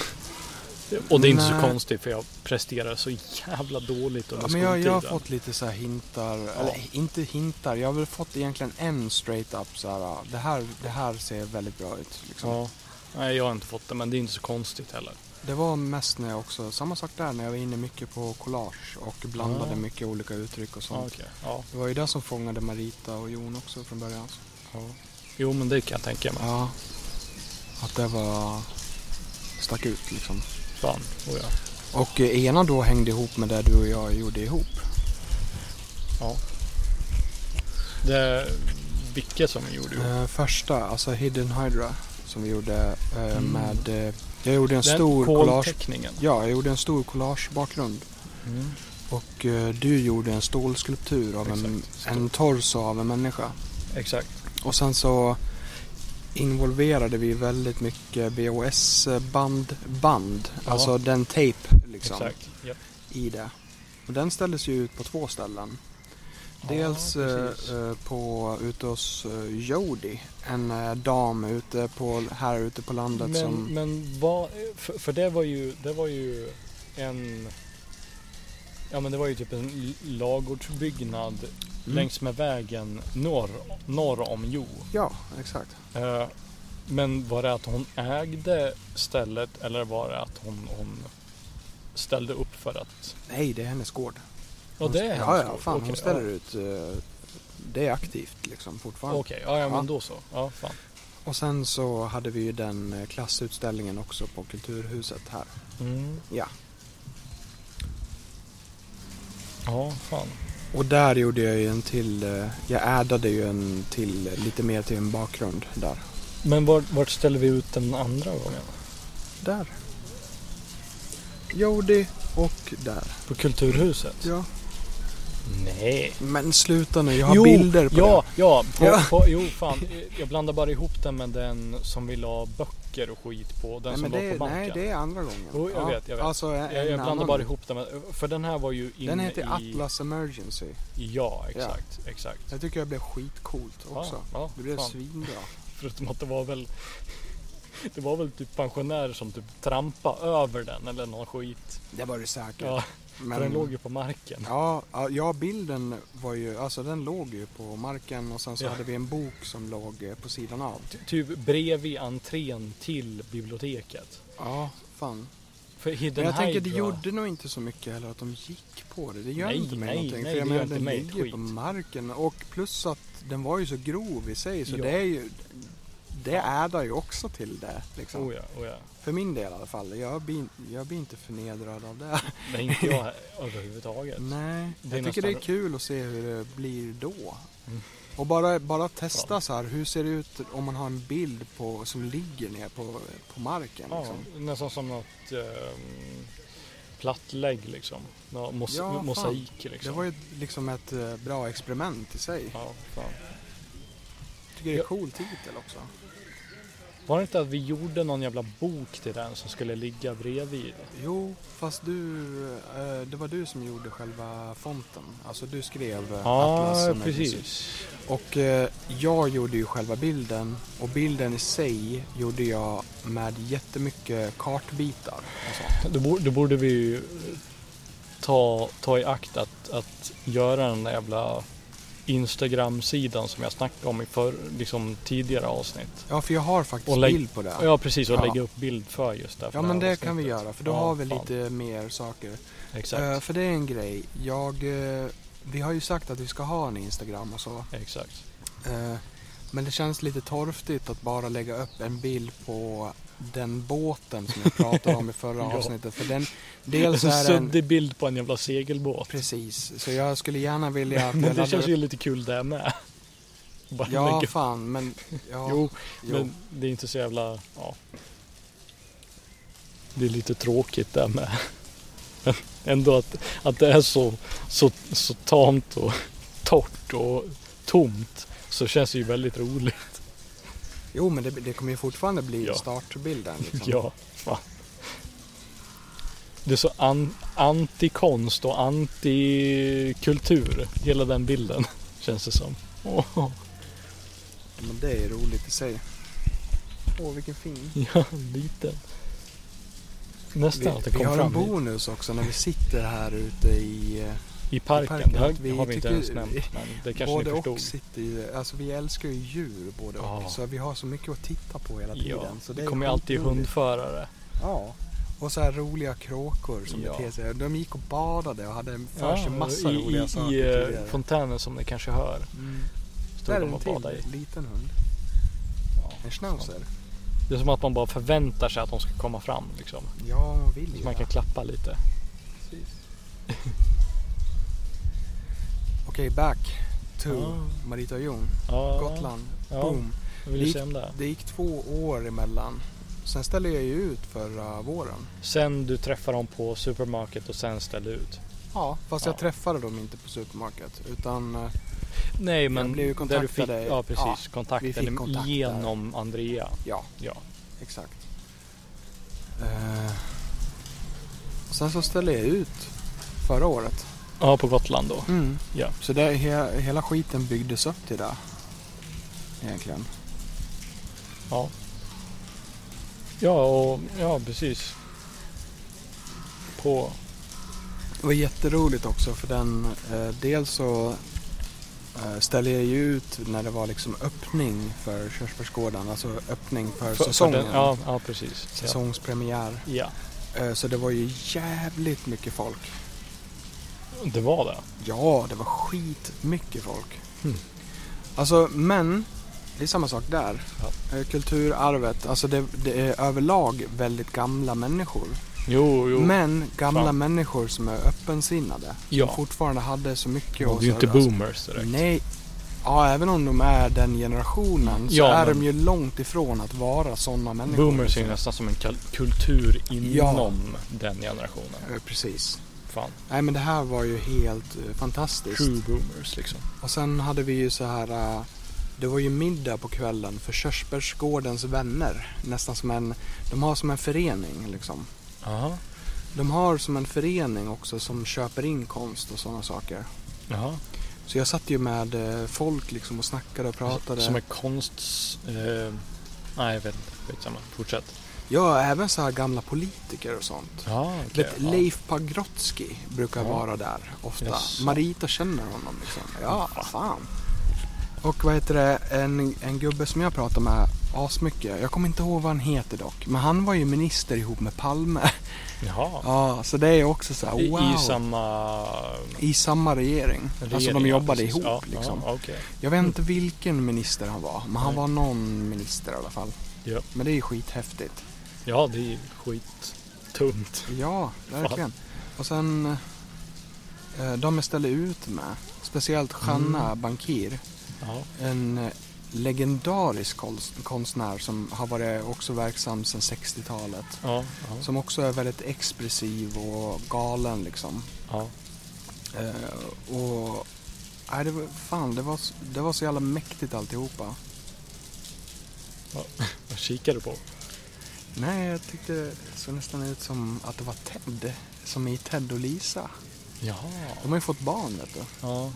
Och det är inte Nej. så konstigt för jag presterar så jävla dåligt under Ja, men jag, jag har skoltiden. fått lite så här hintar, eller inte hintar, jag har väl fått egentligen en straight up så här, ah, det här, det här ser väldigt bra ut. Liksom. Ja. Nej, jag har inte fått det, men det är inte så konstigt heller. Det var mest när jag också, samma sak där, när jag var inne mycket på collage och blandade Ja. mycket olika uttryck och Ja, sånt. okej. ja. Det var ju det som fångade Marita och Jon också från början. Ja. Jo, men det kan jag tänka mig. Ja. Att det var, stack ut liksom. Fan, oh ja. Och eh, ena då hängde ihop med det du och jag gjorde ihop. Det, vilka som gjorde ihop? Eh, första, alltså Hidden Hydra som vi gjorde eh, Mm. med... Eh, jag gjorde en Den stor collage... kolteckningen. Ja, jag gjorde en stor collagebakgrund. Mm. Och eh, du gjorde en stålskulptur av en, Exakt, stål. en torso av en människa. Exakt. Och sen så involverade vi väldigt mycket VHS-band, band, Ja. alltså den tape liksom, Exakt. Japp. i det. Och den ställdes ju ut på två ställen. Ja, Dels eh, precis. eh, på ute hos eh, Jody, en eh, dam ute på, här ute på landet men, som... men vad, för, för det var ju, det var ju en Ja men det var ju typ en l- lagårdsbyggnad Mm. längs med vägen norr, norr om Jo. Ja, exakt. Eh, Men var det att hon ägde stället eller var det att hon, hon ställde upp för att... Nej, det är hennes gård. Ja Hon- det är Ja, hennes ja, gård. fan Okej, hon ställer ut. eh, Det är aktivt liksom ja. fortfarande. Okej, ja, ja men Ja. då så. Ja, fan. Och sen så hade vi ju den eh, klassutställningen också på Kulturhuset här. Mm. Ja. Ja, fan. Och där gjorde jag ju en till, eh, jag addade ju en till, eh, lite mer till en bakgrund där. Men vart, vart ställer vi ut den andra gången? Där. Jodi och där. På Kulturhuset? Ja. Nej. Men sluta nu, jag har bilder på ja, Ja, på, Ja. På, jo fan. Jag blandar bara ihop den med den som vill ha böcker och skit på. Den det. Nej, som men låg det, på banken. nej, det är andra gången. Jo, jag vet, jag vet. Alltså, en, Jag, jag en blandar annan. bara ihop den med, för den här var ju inne Den heter i... Atlas Emergency. Ja, exakt. Exakt. Jag tycker jag blev skitcoolt också. Ja, ja, Det blev fan. svinbra. Förutom att det var väl... Det var väl typ pensionärer som typ trampade över den eller någon skit. Det var det säkert. Ja, men... för den låg ju på marken. Ja, ja, ja, bilden var ju, alltså den låg ju på marken och sen så Ja. hade vi en bok som låg eh, på sidan av. Typ bredvid entrén till biblioteket. Ja, fan. För Hidden Men jag tänker det Hydra- gjorde nog inte så mycket heller att de gick på det. Det gör Nej, inte mig nej, någonting. nej, för jag det menar gör inte den mig ett ligger ju skit. på marken och plus att den var ju så grov i sig så Ja. det är ju, det addar ju också till det. Liksom. Oh ja, oh ja. För min del i alla fall. Jag blir, jag blir inte förnedrad av det. Nej, inte jag överhuvudtaget. Nej, Det är jag tycker det är nästan- kul att se hur det blir då. Mm. Och bara, bara testa Ja. så här, hur ser det ut om man har en bild på, som ligger ner på, på marken? Ja, Liksom? nästan som något ehm, plattlägg liksom. Nå, mos- Ja, fan. mosaik liksom. Det var ju liksom ett eh, bra experiment i sig. Ja, fan. Jag tycker det är Ja. en cool titel också. Var det inte att vi gjorde någon jävla bok till den som skulle ligga bredvid? Jo, fast du, eh, det var du som gjorde själva fonten. Alltså du skrev eh, Ja, Atlasen, precis. Och eh, jag gjorde ju själva bilden och bilden i sig gjorde jag med jättemycket kartbitar och sånt. Då, bor- då borde vi ju ta, ta i akt att, att göra den där jävla Instagram-sidan som jag snackade om i för, liksom, tidigare avsnitt. Ja, för jag har faktiskt Och lägg- bild på det. Ja, precis. Och Ja. lägga upp bild för just det. för Ja, men här det kan vi avsnittet. göra för då Ja, har vi fan. lite mer saker. Exakt. Eh, för det är en grej. Jag, eh, vi har ju sagt att vi ska ha en Instagram och så. Exakt. Eh, men det känns lite torftigt att bara lägga upp en bild på den båten som jag pratade om i förra Ja. avsnittet. För den, dels en är den... suddig bild på en jävla segelbåt. Precis, så jag skulle gärna vilja att jag Men det laddar känns upp- ju lite kul det med. Bara Ja, lägga- fan, men... Ja, Jo, jo. men det är inte så jävla... Ja. Det är lite tråkigt det med. Men Ändå att, att det är så, så, så tamt och torrt och tomt. Så känns det ju väldigt roligt. jo, men det, det kommer ju fortfarande bli Ja. startbilden. Liksom. Ja, fan. Det är så an, antikonst och antikultur. Hela den bilden, känns det som. Åh. Men det är roligt i sig. Åh, vilken fin. Ja, lite. Vi, Nästan att det vi kom har en fram i, bonus också när vi sitter här ute i... eh, i parken. i parken, Det här att vi har vi inte tycker- ens nämnt, men det kanske både ni förstod. och sitter ju, alltså vi älskar ju djur både Ja. och. Så vi har så mycket att titta på hela tiden. Ja, så det är kommer ju alltid skitroligt. hundförare. Ja. Och så här roliga kråkor som Ja. beter sig. De gick och badade och hade en för Ja, sig massa i, roliga saker i, i eh, tidigare. fontänen som ni kanske hör. Mm. Stod Där är de en och badade i. till liten hund. Ja. En schnauzer. Det är som att man bara förväntar sig att de ska komma fram. Liksom. Ja, man vill Så ju. man kan klappa lite. Okej, back to Ah. Marita och Jon. Ja, Gotland. Ja, Boom. jag vill Det ju gick- se om det. Det gick två år emellan. Sen ställde jag ju ut förra våren. Sen du träffar dem på supermarket och sen ställer ut. Ja, fast Ja. jag träffade dem inte på supermarket. Utan eh, Nej, men blev ju där du fick, kontaktade- ja, precis, ja, kontakten vi fick kontakt där. genom Andrea. ja, Ja. exakt. Eh, sen så ställde jag ut förra året. ja, på Gotland då. Mm. Ja. Så det, he, hela skiten byggdes upp till det. Egentligen. Ja. Ja, och, ja precis. På... var jätteroligt också för den, eh, dels så eh, ställde jag ju ut när det var liksom öppning för Körsbärsgården, alltså öppning för, För- för säsongen. den- Ja, ja, precis. Ja. Säsongspremiär. ja, Eh, Så det var ju jävligt mycket folk. det var det. Ja, det var skitmycket folk. Hmm. Alltså, men det är samma sak där. Ja. Eh, Kulturarvet, alltså det, det är överlag väldigt gamla människor. Jo, jo. Men gamla Fan. människor som är öppensinnade. Ja. Som fortfarande hade så mycket Och att det är ju inte säga. boomers direkt. Nej. Ja, även om de är den generationen så Ja, är men- de ju långt ifrån att vara sådana människor. Boomers är ju nästan som en kal- kultur inom den generationen. Eh, Precis. Fan, Nej men det här var ju helt eh, fantastiskt. true boomers liksom. Och sen hade vi ju så här, eh, det var ju middag på kvällen för Körsbärsgårdens vänner. Nästan som en, de har som en förening liksom. Jaha, De har som en förening också som köper in konst och sådana saker. jaha. Så jag satt ju med eh, folk liksom och snackade och pratade. Som är konsts... Eh, nej, jag vet inte. Skitsamma. Fortsätt. Ja, även så här gamla politiker och sånt. Ja, Du Vet, Leif Pagrotsky brukar Ja. vara där ofta. Jaså. Marita känner honom liksom. Ja, Mm. fan. Och vad heter det, en, en gubbe som jag pratar med asmycket. Jag kommer inte ihåg vad han heter dock. Men han var ju minister ihop med Palme. Jaha. Ja, så det är också så här, I, Ah, wow. I samma... I samma regering. alltså de regering, jobbade precis. ihop ja, liksom. Ja, okej. Jag vet inte vilken minister han var, men han Nej. var någon minister i alla fall. Ja. Men det är ju skithäftigt. ja, det är ju skittungt. Ja, verkligen. Och sen, eh, de jag ställde ut med, speciellt Hanna Bankir, Ja. en eh, legendarisk konst- konstnär som har varit också verksam sedan 60-talet. Ja, ja, Som också är väldigt expressiv och galen liksom. ja. Eh, och, nej det var, fan det var, s- det var så jävla mäktigt alltihopa. Vad kikar du på? Nej, jag tyckte det såg nästan ut som att det var Ted. Som i Ted och Lisa. Jaha. De har ju fått barn vet du. Ja.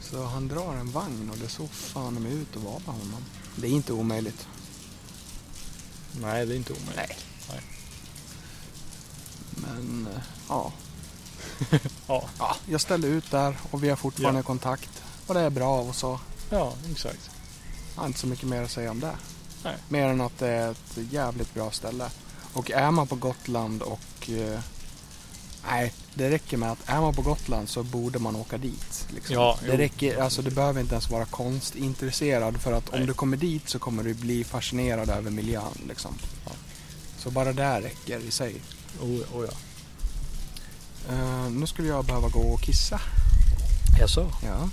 Så han drar en vagn och det såg fan mig ut att vara honom. Det är inte omöjligt. Nej, det är inte omöjligt. Nej. Nej. Men eh, ja. Ja, ja, jag ställde ut där och vi har fortfarande Ja. kontakt. Och det är bra och så. ja exakt. Jag har inte så mycket mer att säga om det. Nej. Mer än att det är ett jävligt bra ställe. Och är man på Gotland och... eh, nej, det räcker med att är man på Gotland så borde man åka dit. Liksom. Ja, det jo. räcker, alltså du behöver inte ens vara konstintresserad för att om Nej. du kommer dit så kommer du bli fascinerad över miljön. Liksom. Ja. Så bara det räcker i sig. Oh, oh ja. Eh, nu skulle jag behöva gå och kissa. Jaså? Ja.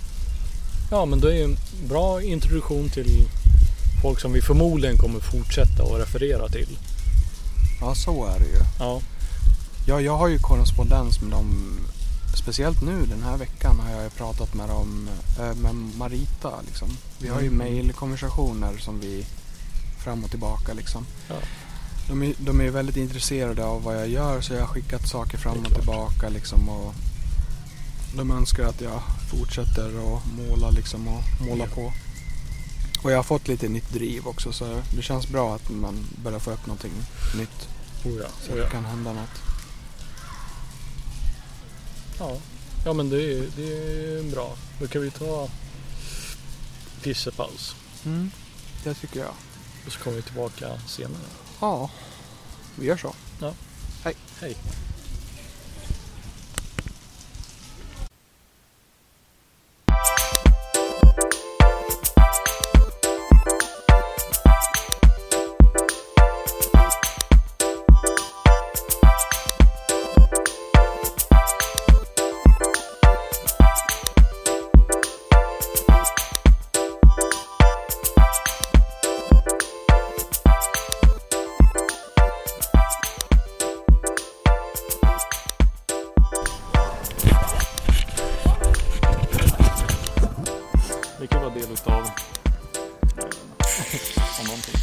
Ja, men det är ju en bra introduktion till folk som vi förmodligen kommer fortsätta att referera till. ja, så är det ju. Ja, Ja, jag har ju korrespondens med dem. Speciellt nu den här veckan har jag ju pratat med dem, eh, med Marita liksom. Vi har ju Mm. mejlkonversationer som vi fram och tillbaka liksom. Ja. De, är, de är ju väldigt intresserade av vad jag gör så jag har skickat saker fram Det är och klart. tillbaka liksom. Och de önskar att jag fortsätter att måla liksom och måla Ja. på. Och jag har fått lite nytt driv också så det känns bra att man börjar få upp någonting nytt. oh ja. Oh Så att ja. det kan hända något. ja. ja men det är, det är bra. Då kan vi ta pissepaus. Mm, det tycker jag. Och så kommer vi tillbaka senare. Ja, vi gör så. Hej. Det kan vara del utav om någonting.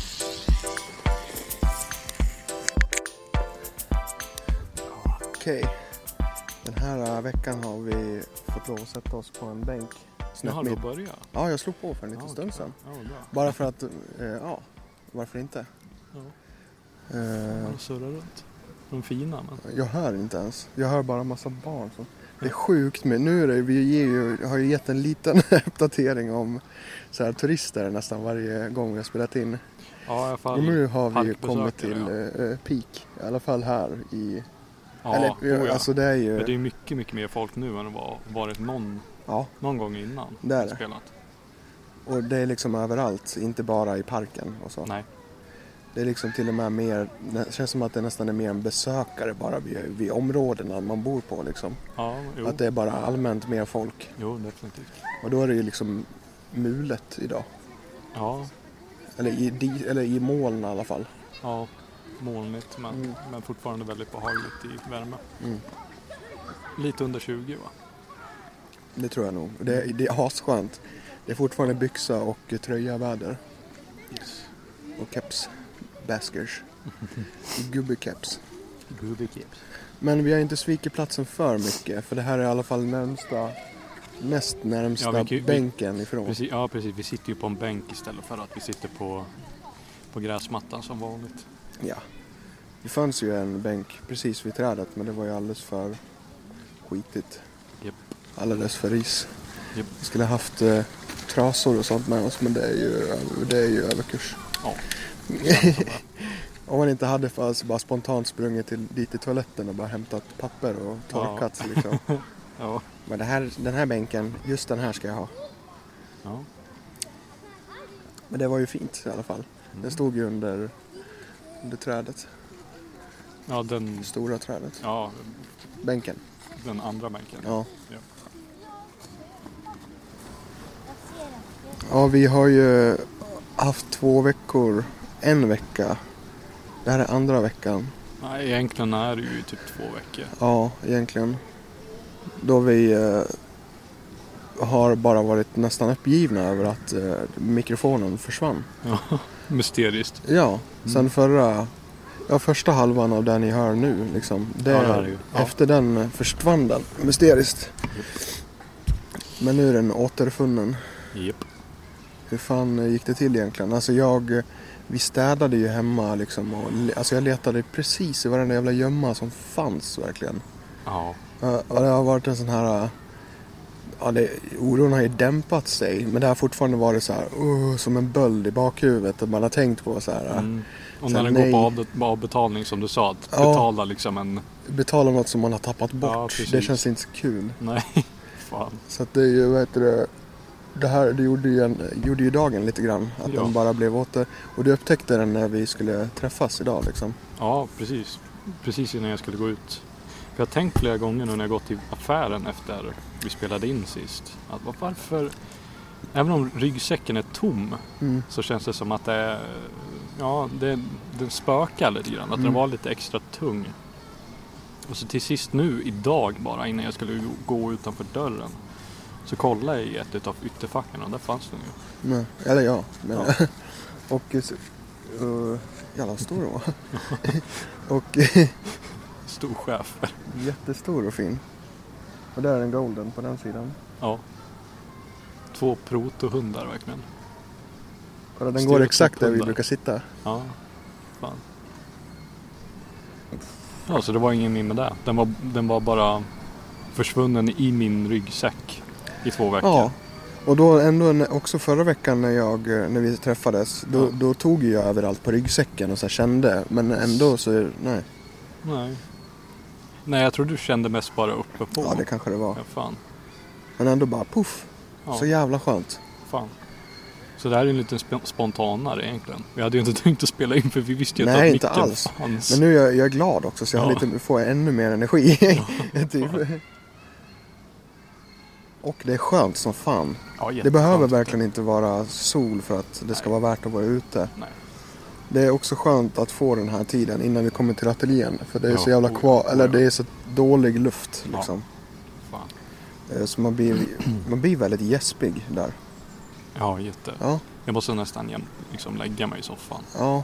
Okej. Den här äh, veckan har vi fått lov att sätta oss på en bänk. Jaha, du mitt- har börjat? Ja, jag slog på för en Ja, liten okej. stund sedan. Ja, vad bra. Bara för att, eh, ja, varför inte? Ja. Eh, Man surrar runt. De är fina men. jag hör inte ens. Jag hör bara en massa barn som... Det är sjukt men nu är det, vi ger ju, har ju gett en liten uppdatering om så här, turister nästan varje gång vi har spelat in. Ja, i alla Och fall. nu har vi ju kommit till parkbesökare, eh, peak, i alla fall här i... Ja, eller, oh ja. alltså det är ju... Men det är mycket, mycket mer folk nu än det var varit någon, Ja, någon gång innan. Det är vi det. Spelat. och det är liksom överallt, inte bara i parken och så. Nej. Det är liksom till och med mer, det känns som att det nästan är mer en besökare bara vid, vid områdena man bor på liksom. Ja, jo. Att det är bara allmänt mer folk. jo, definitivt. Och då är det ju liksom mulet idag. Ja, Eller i, di- eller i moln i alla fall. ja. molnigt men, Mm. men fortfarande väldigt behagligt i värme. Mm. Lite under 20 va? Det tror jag nog. Det, det är asskönt. Det är fortfarande byxa och tröja väder. Och keps. Baskers. Gubbekeps. Men vi har inte svikit platsen för mycket. För det här är i alla fall närmsta, näst närmsta Ja, vi kan ju- vi- bänken ifrån. Precis, ja precis, vi sitter ju på en bänk istället för att vi sitter på, på gräsmattan som vanligt. Ja. Det fanns ju en bänk precis vid trädet men det var ju alldeles för skitigt. Japp. Alldeles för ris. Japp. Vi skulle ha haft eh, trasor och sånt med oss men det är ju, det är ju överkurs. Ja. Känns så bra. Om man inte hade alltså bara spontant sprungit till, dit i toaletten och bara hämtat papper och torkat sig liksom. ja. Men det här, den här bänken, just den här ska jag ha. ja. Men det var ju fint i alla fall. Den stod ju under, under trädet, Ja, den, det stora trädet. ja, Bänken. den andra bänken. Ja. Ja. Ja, vi har ju haft två veckor, en vecka. Det här är andra veckan. Nej, egentligen är det ju typ två veckor. Ja, egentligen. Då vi eh, har bara varit nästan uppgivna över att eh, mikrofonen försvann. Mysteriskt. Ja, sen Mm. förra, ja första halvan av den ni hör nu liksom. Det, Ja, det är det ju. Ja. Efter den eh, försvann den, mysteriskt. Men nu är den återfunnen. Japp. Hur fan eh, gick det till egentligen? Alltså jag, eh, vi städade ju hemma liksom. Och, le- alltså jag letade precis i varenda jävla gömma som fanns verkligen. Ja. Ja, och det har varit en sån här... eh, Ja, det, oron har ju dämpat sig. Men det har fortfarande varit så här, "Åh", som en böld i bakhuvudet. Att man har tänkt på så här, eh, Mm. Och Så när den går nej. på avbe- avbetalning som du sa, att Ja. betala liksom en... betala något som man har tappat Ja, bort. precis. det känns inte så kul. Nej, fan. Så att det är ju, vad heter det, det här det gjorde, ju en, gjorde ju dagen lite grann. Att Ja. den bara blev åter... Och du upptäckte den när vi skulle träffas idag liksom. Ja, precis. Precis innan jag skulle gå ut. För jag har tänkt flera gånger nu när jag gått till affären efter vi spelade in sist. Att va- varför... Även om ryggsäcken är tom Mm. så känns det som att det är... Ja, det, den spökar lite grann. Att Mm. den var lite extra tung. Och så till sist nu idag bara innan jag skulle gå utanför dörren. Så kollade jag i ett utav ytterfacken och där fanns den ju. Nej, Mm. eller ja. Men, Ja. och... eh, så- eh, jävlar vad stor den var. och Stor chef. jättestor och fin. Och där är en golden på den sidan. Ja. Två protohundar verkligen. Kolla, den Styr går åt exakt där vi topphundar. brukar sitta. Ja, fan. Ja, så det var ingen minne där. Den var, den var bara försvunnen i min ryggsäck i två veckor. Ja. Och då ändå när- också förra veckan när, jag, eh, när vi träffades, då, Ja. då tog ju jag överallt på ryggsäcken och så här kände. Men ändå så, nej. Nej. Nej, jag tror du kände mest bara uppe på. Ja, det kanske det var. Ja, fan. Men ändå bara poff. Ja, Så jävla skönt. fan. Så det här är en liten sp- spontanare egentligen. Vi hade ju inte tänkt att spela in för vi visste ju inte Nej, att inte micken alls. fanns. Men nu är jag, jag är glad också så jag har Ja. lite, får jag ännu mer energi. typ. Och det är skönt som fan. ja, Det jätteskönt. behöver verkligen inte vara sol för att det ska Nej. vara värt att vara ute. Nej. Det är också skönt att få den här tiden innan vi kommer till ateljén. För det är Ja, så jävla oj, kvar, oj, eller oj. det är så dålig luft Ja. liksom. Fan. Eh, Så man blir, man blir väldigt gäspig där. Ja, jätte. Ja, Jag måste nästan jäm- liksom lägga mig i soffan. ja.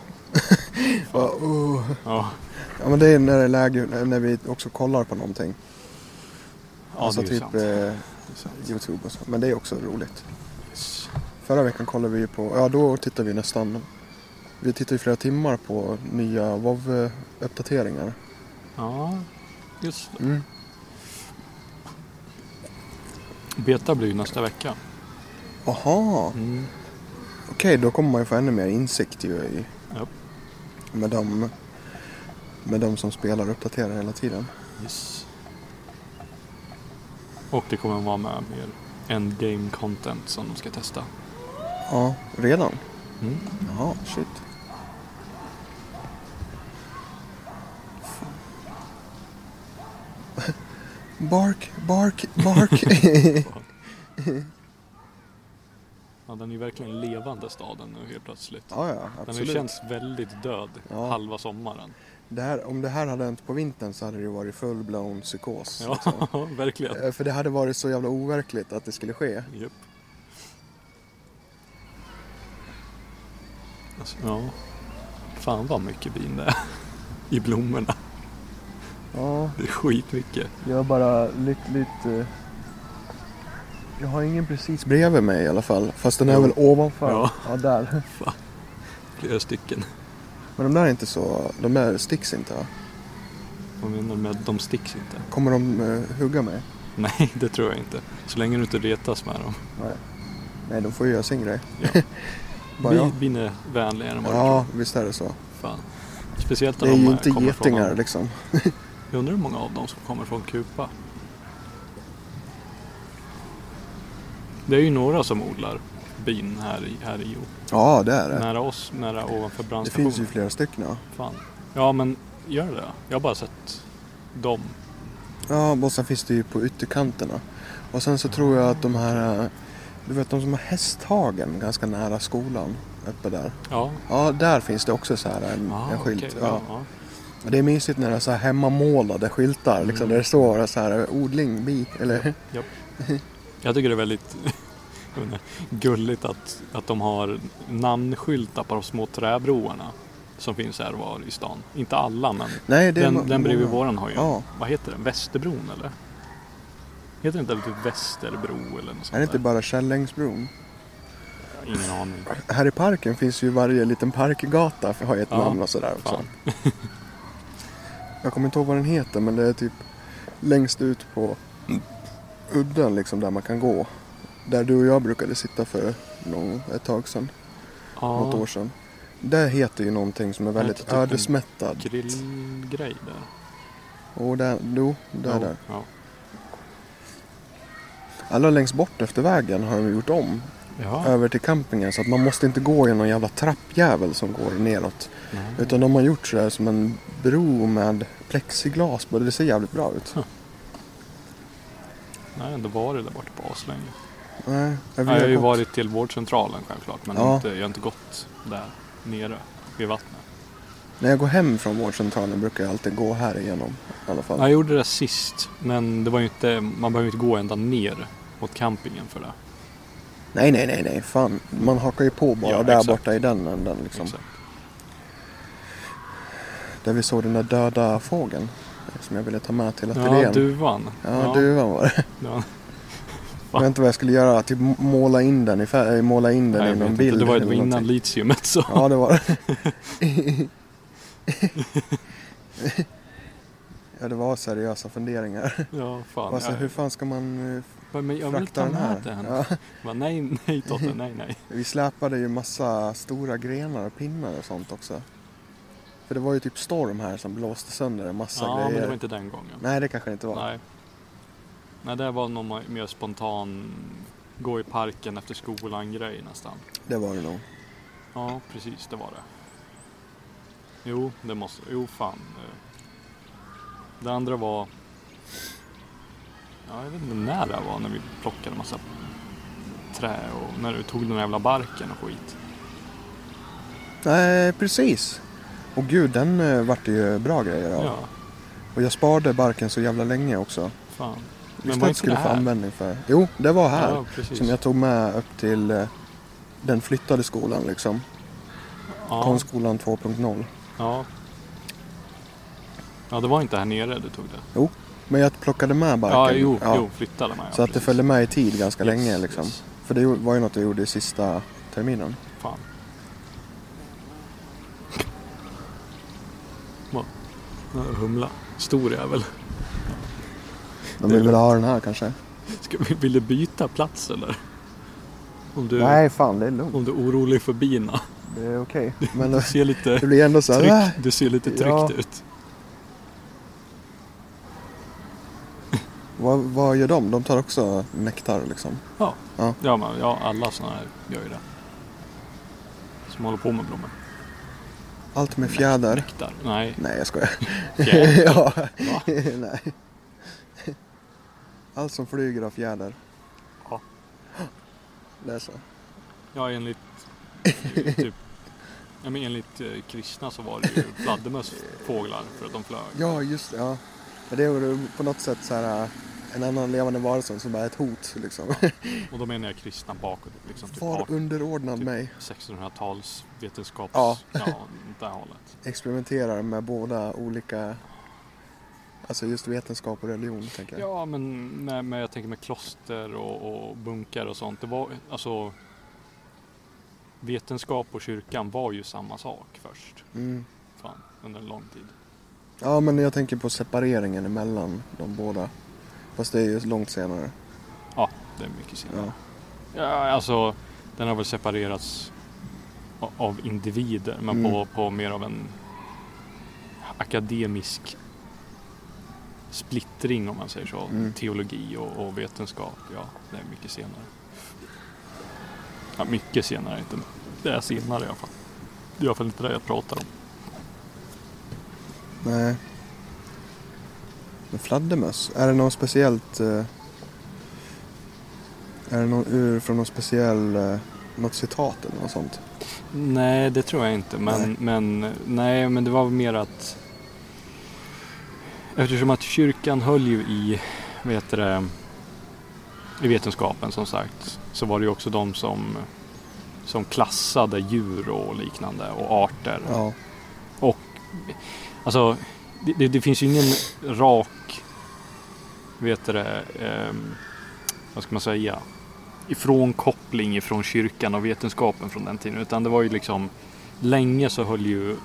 oh. Bara, "Åh." Ja, Ja men det är när det är läge, när vi också kollar på någonting. ja alltså det är ju typ sant. eh, Det är sant. Youtube och så. Men det är också roligt. Yes. Förra veckan kollade vi ju på, ja då tittar vi nästan, vi tittar ju flera timmar på nya WoW uppdateringar Mm. Ja, just det. Mm. Beta blir ju nästa vecka. Aha. Okej, då kommer man ju få ännu mer insikt ju i... Ja. Med dem... Med dem som spelar och uppdaterar hela tiden. Yes. Och det kommer vara med mer endgame content som de ska testa. Ja, redan? Mm. Jaha, shit. Bark, bark, bark. Ja, den är ju verkligen levande staden nu helt plötsligt. ja, ja, Den har ju absolut. känts väldigt död Ja. halva sommaren. Det här, om det här hade hänt på vintern så hade det ju varit full-blown psykos. Ja, liksom. verkligen. Eh, För det hade varit så jävla overkligt att det skulle ske. Japp. Alltså, ja. Fan vad mycket bin det är. I blommorna. Ja, Det är skitmycket. jag är bara lyckligt... eh, Jag har ingen precis bredvid mig i alla fall. Fast den är Jo. väl ovanför. Ja. ja, där. Flera stycken. Men de där är inte så... De där sticks inte va? Vad menar du med att de sticks inte? Kommer de eh, hugga mig? Nej, det tror jag inte. Så länge du inte retas med dem. Nej, de får ju göra sin grej. Ja. Bara jag. Bin- Bin är vänligare än vad du Ja, visst är det så. tror. Fan. Speciellt Det när är de ju eh, inte kommer från getingar någon- liksom. Jag undrar hur många av dem som kommer från Kuba. Det är ju några som odlar bin här i, här i Hjo. Ja, det är det. Nära oss, nära ovanför Det finns ju brandstationen. flera stycken. ja. Fan. Ja men gör det då. Jag har bara sett dem. Ja, och sen finns det ju på ytterkanterna. Och sen så tror jag att de här... eh, Du vet de som har hästhagen ganska nära skolan. Uppe där. Ja. Ja, där finns det också så här en, Ah, Mm, en skylt. okej. ja. ja. Och Det är mysigt när det är så här hemmamålade skyltar. Mm. Liksom, där det står så här eh, odling, bi eller... Jag tycker det är väldigt jag vet inte, gulligt att, att de har namnskyltar på de små träbroarna som finns här och var i stan. Inte alla men Nej, det är den, ma- den bredvid många. våran har ju en. Ja. Vad heter den? Västerbron eller? Heter den inte typ Västerbro eller något sånt Är det inte där? bara Källängsbron? Ingen aning. Här i parken finns ju varje liten parkgata för- har ju ett Ja, namn och sådär också. fan. Jag kommer inte ihåg vad den heter men det är typ längst ut på udden liksom där man kan gå. Där du och jag brukade sitta för någon, ett tag sedan, något Ja, år sedan. Det heter ju någonting som är väldigt heter typ en ödesmättat. grillgrej där. Och där, jo, där, Ja, där. Ja. Alla längst bort efter vägen har de gjort om Jaha. över till campingen så att man måste inte gå genom någon jävla trappjävel som går neråt. Nej. Utan de har gjort så här som en bro med plexiglas på. Det ser jävligt bra ut. Nej, ändå varit där borta på aslänge. Nej, Jag, vill jag har ju gått- varit till vårdcentralen självklart men Ja. inte, jag har inte gått där nere vid vattnet. När jag går hem från vårdcentralen brukar jag alltid gå här igenom i alla fall. Ja, Jag gjorde det sist men det var ju inte, man behöver ju inte gå ända ner mot campingen för det. Nej, nej, nej, nej, fan. Man hakar ju på bara Ja, där exakt. borta i den änden liksom. Exakt. Där vi såg den där döda fågeln eh, som jag ville ta med till ateljén. Ja, duvan. Ja, duvan var det. duvan. Jag vet inte vad jag skulle göra. Typ måla in den i, fär- måla in den Nej, i jag vet någon inte. bild. Det var, det eller var innan någonting. litiumet så. Ja, det var det. ja, det var seriösa funderingar. Ja, fan. Alltså, jag, hur fan ska man eh, men jag vill frakta ta den med här? den. Ja. Bara, nej, nej Totte, nej, nej. Vi släpade ju massa stora grenar och pinnar och sånt också. För det var ju typ storm här som blåste sönder en massa Ja, grejer. men det var inte den gången. Nej, det kanske det inte var. Nej. Nej, det var någon mer spontan gå i parken efter skolan-grej nästan. Det var det nog. Ja, precis, det var det. Jo, det måste... Jo, fan. eh. Det andra var... Ja, jag vet inte när det var, när vi plockade massa trä och när du tog den där jävla barken och skit. Nej, precis. Och gud, den eh, vart det ju bra grejer Ja, av. Och jag sparade barken så jävla länge också. fan. Visste att jag skulle få användning för. Jo, det var här. Ja, precis. som jag tog med upp till eh, den flyttade skolan liksom. ja, Konstskolan 2.0. ja. Ja, det var inte här nere du tog det. Men jag plockade med barken. Ja, jo, Ja. jo flyttade man ja, Så att det precis. följde med i tid ganska Yes, länge liksom. yes. För det var ju något jag gjorde i sista terminen. Fan. Va? Den här Humla. Stor jävel. De vill väl ha den här kanske? Ska, vi- vill du byta plats eller? Om du, Nej, fan det är lugnt. om du är orolig för bina. Det är okej. Men Du det, ser lite det blir ändå så här. "Ah." tryckt, du ser lite tryckt Ja. ut. Vad, vad gör de? De tar också nektar liksom. Ja, men, ja, alla sådana här gör ju det. Som håller på med blommor. Allt med fjäder. Nektar. Nej, Nej, jag skojar. fjäder. ja. Va? Nej. Allt som flyger har fjäder. Ja. Det är så. Ja, enligt eh, typ Ja, men enligt eh, kristna så var det ju fladdermöss fåglar för att de flög. Ja, just det. Ja. Men Det är väl på något sätt så här äh, en annan levande varelse som bara är ett hot liksom. Och då menar jag kristna bakåt, liksom typ Var 18 underordnad typ. mig. 1600-tals vetenskaps... Ja. Ja. ja, det här hållet. Experimenterar med båda olika, alltså just vetenskap och religion tänker jag. Ja, men, nej, men jag tänker med kloster och, och bunkar och sånt. Det var alltså... Vetenskap och kyrkan var ju samma sak först. Mm. Fan, under en lång tid. Ja, men jag tänker på separeringen emellan de båda. Fast det är ju långt senare. Ja, det är mycket senare. Ja. Ja, alltså den har väl separerats a- av individer men Mm. på, på mer av en akademisk splittring om man säger så. Mm. Teologi och, och vetenskap, ja det är mycket senare. Ja, mycket senare inte, men det är senare i alla fall. Det är i alla fall inte det jag pratar om. Nej. Men fladdermöss, är det någon speciellt... eh, Är det någon ur från någon speciell... eh, Något citat eller något sånt? Nej, det tror jag inte. Men Nej. nej, men, nej, men det var väl mer att eftersom att kyrkan höll ju i, vet det, i vetenskapen som sagt, så var det ju också de som, som klassade djur och liknande och arter. Ja. Alltså, det, det, det finns ju ingen rak, vet det, ehm, vad ska man säga, ifrån koppling ifrån kyrkan och vetenskapen från den tiden. Utan det var ju liksom, länge så höll ju,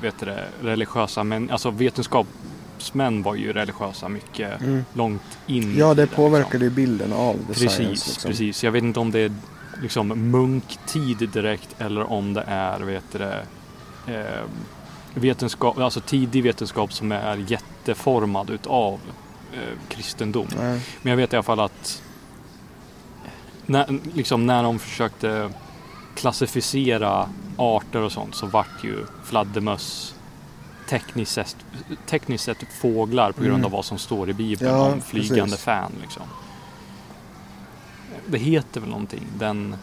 vet det, religiösa män, alltså vetenskapsmän var ju religiösa mycket Mm. långt in i Ja, det tiden, liksom. påverkade ju bilden av the Precis, science. Liksom. precis. Jag vet inte om det är liksom munktid direkt eller om det är vet du det, eh, vetenskap, alltså tidig vetenskap som är jätteformad utav eh, kristendom. Nej. Men jag vet i alla fall att när, liksom när de försökte klassificera arter och sånt så vart ju fladdermöss tekniskt sett, tekniskt sett typ fåglar på grund Mm. av vad som står i Bibeln Ja, om flygande precis. fan. Liksom. Det heter väl någonting. Den,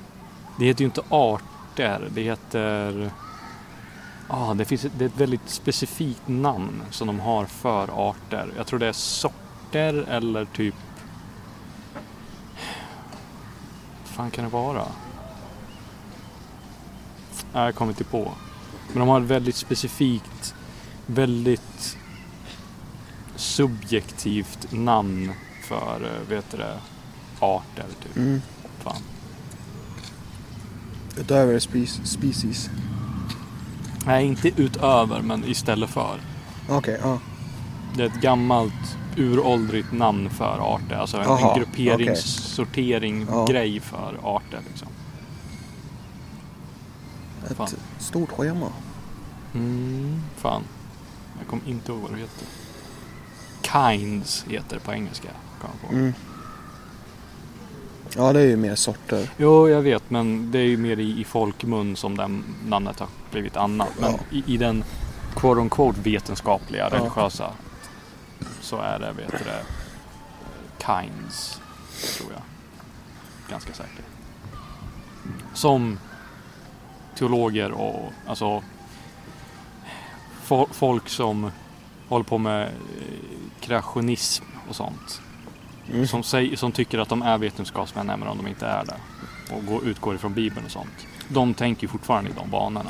det heter ju inte arter, det heter... Ah, det, finns, ett- det är ett väldigt specifikt namn som de har för arter. Jag tror det är sorter eller typ... Vad fan kan det vara? Nej, jag kommer inte på. Men de har ett väldigt specifikt, väldigt subjektivt namn för, eh, vet du det, arter typ. Mm. Fan. Utöver spe- species. Nej, inte utöver, men istället för. Okej, ja. Det är ett gammalt, uråldrigt namn för arter. Alltså en, Aha, en grupperingssortering Ja. grej för arter. Liksom. Ett Fan. stort schema. Mm, fan. Jag kommer inte ihåg vad det heter. Kinds heter det på engelska. Kom jag på. Mm. Ja, det är ju mer sorter. Jo, jag vet, men det är ju mer i, i folkmun som den namnet har blivit annat. Men Ja. i, i den quote on quote vetenskapliga, Ja. religiösa så är det, vet du det, kinds, tror jag. Ganska säkert. Som teologer och alltså fo- folk som håller på med eh, kreationism och sånt. Mm. Som, säger, som tycker att de är vetenskapsmän även om de inte är det. Och går, utgår ifrån Bibeln och sånt. De tänker ju fortfarande i de banorna.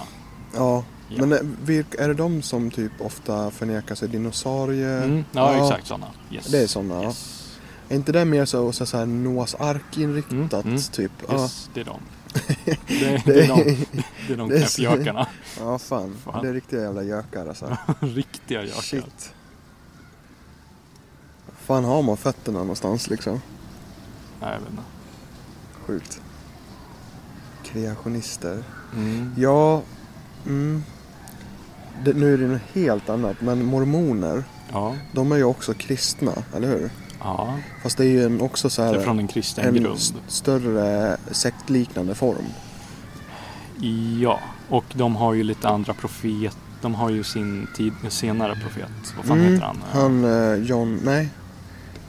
Ja. Ja. Men är, vilk, är det de som typ ofta förnekar sig dinosaurier? Mm. Ja, Eh, ja. exakt sådana. Yes. Det är sådana, ja. Yes. Är inte det mer så, så, så här Noahs ark-inriktat Mm, mm. typ? Ja, yes, det är de. Det är, det är de, det är de Det är så- knäppjökarna. ja fan. Fan. Det är riktiga jävla gökar alltså. Riktiga gökar. Shit. Fan har man fötterna någonstans liksom? Nej, jag vet inte. Sjukt. Kreationister. Mm. Ja, mm. det, nu är det något helt annat, men mormoner, Ja. de är ju också kristna, eller hur? ja. Fast det är ju en, också så Det är här från en kristen en grund. st- större sektliknande form. Ja, och de har ju lite andra profet. De har ju sin tid, senare profet. Vad fan Mm, heter han? Han, eh, John, nej.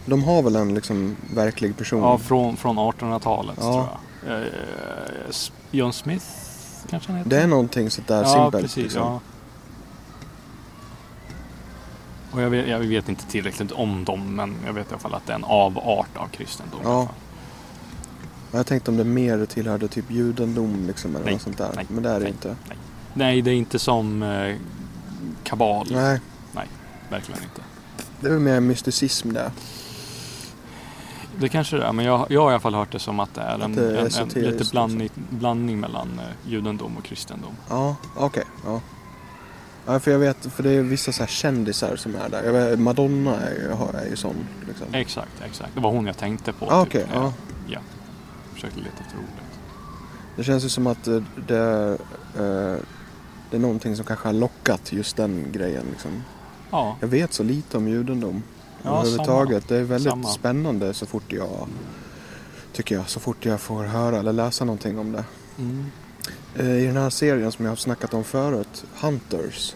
De har väl en liksom verklig person? Ja, från, från 1800-talet Ja. tror jag. Eh, S- John Smith kanske han heter? Det är någonting sånt där ja, simpelt. precis. liksom. Ja. Och jag vet, jag vet inte tillräckligt om dem, men jag vet i alla fall att det är en avart av kristendom. i Ja. alla fall. Men Jag tänkte om det mer tillhörde typ judendom liksom eller Nej, något sånt där. nej, Men det är det nej. inte. Nej, det är inte som eh, kabal. Nej, Verkligen inte. det är väl mer mysticism det. Det kanske det är, men jag, jag har i alla fall hört det som att det är en, Att det är en, en, esoteriskt liksom. lite blandning, blandning mellan eh, judendom och kristendom. Ja, okej. ja. ja, för jag vet, för det är vissa så här kändisar som är där. Jag vet, Madonna är ju, har- är ju sån liksom. Exakt, exakt. Det var hon jag tänkte på. typ. Ja, Ah, okej. Jag ja. försökte leta efter ordet. Det känns ju som att eh, det, eh, det är någonting som kanske har lockat just den grejen liksom. Ja, Jag vet så lite om judendom Ja, överhuvudtaget. Det är väldigt Samma. spännande så fort jag, tycker jag, så fort jag får höra eller läsa någonting om det. mm. Eh, I den här serien som jag har snackat om förut, Hunters,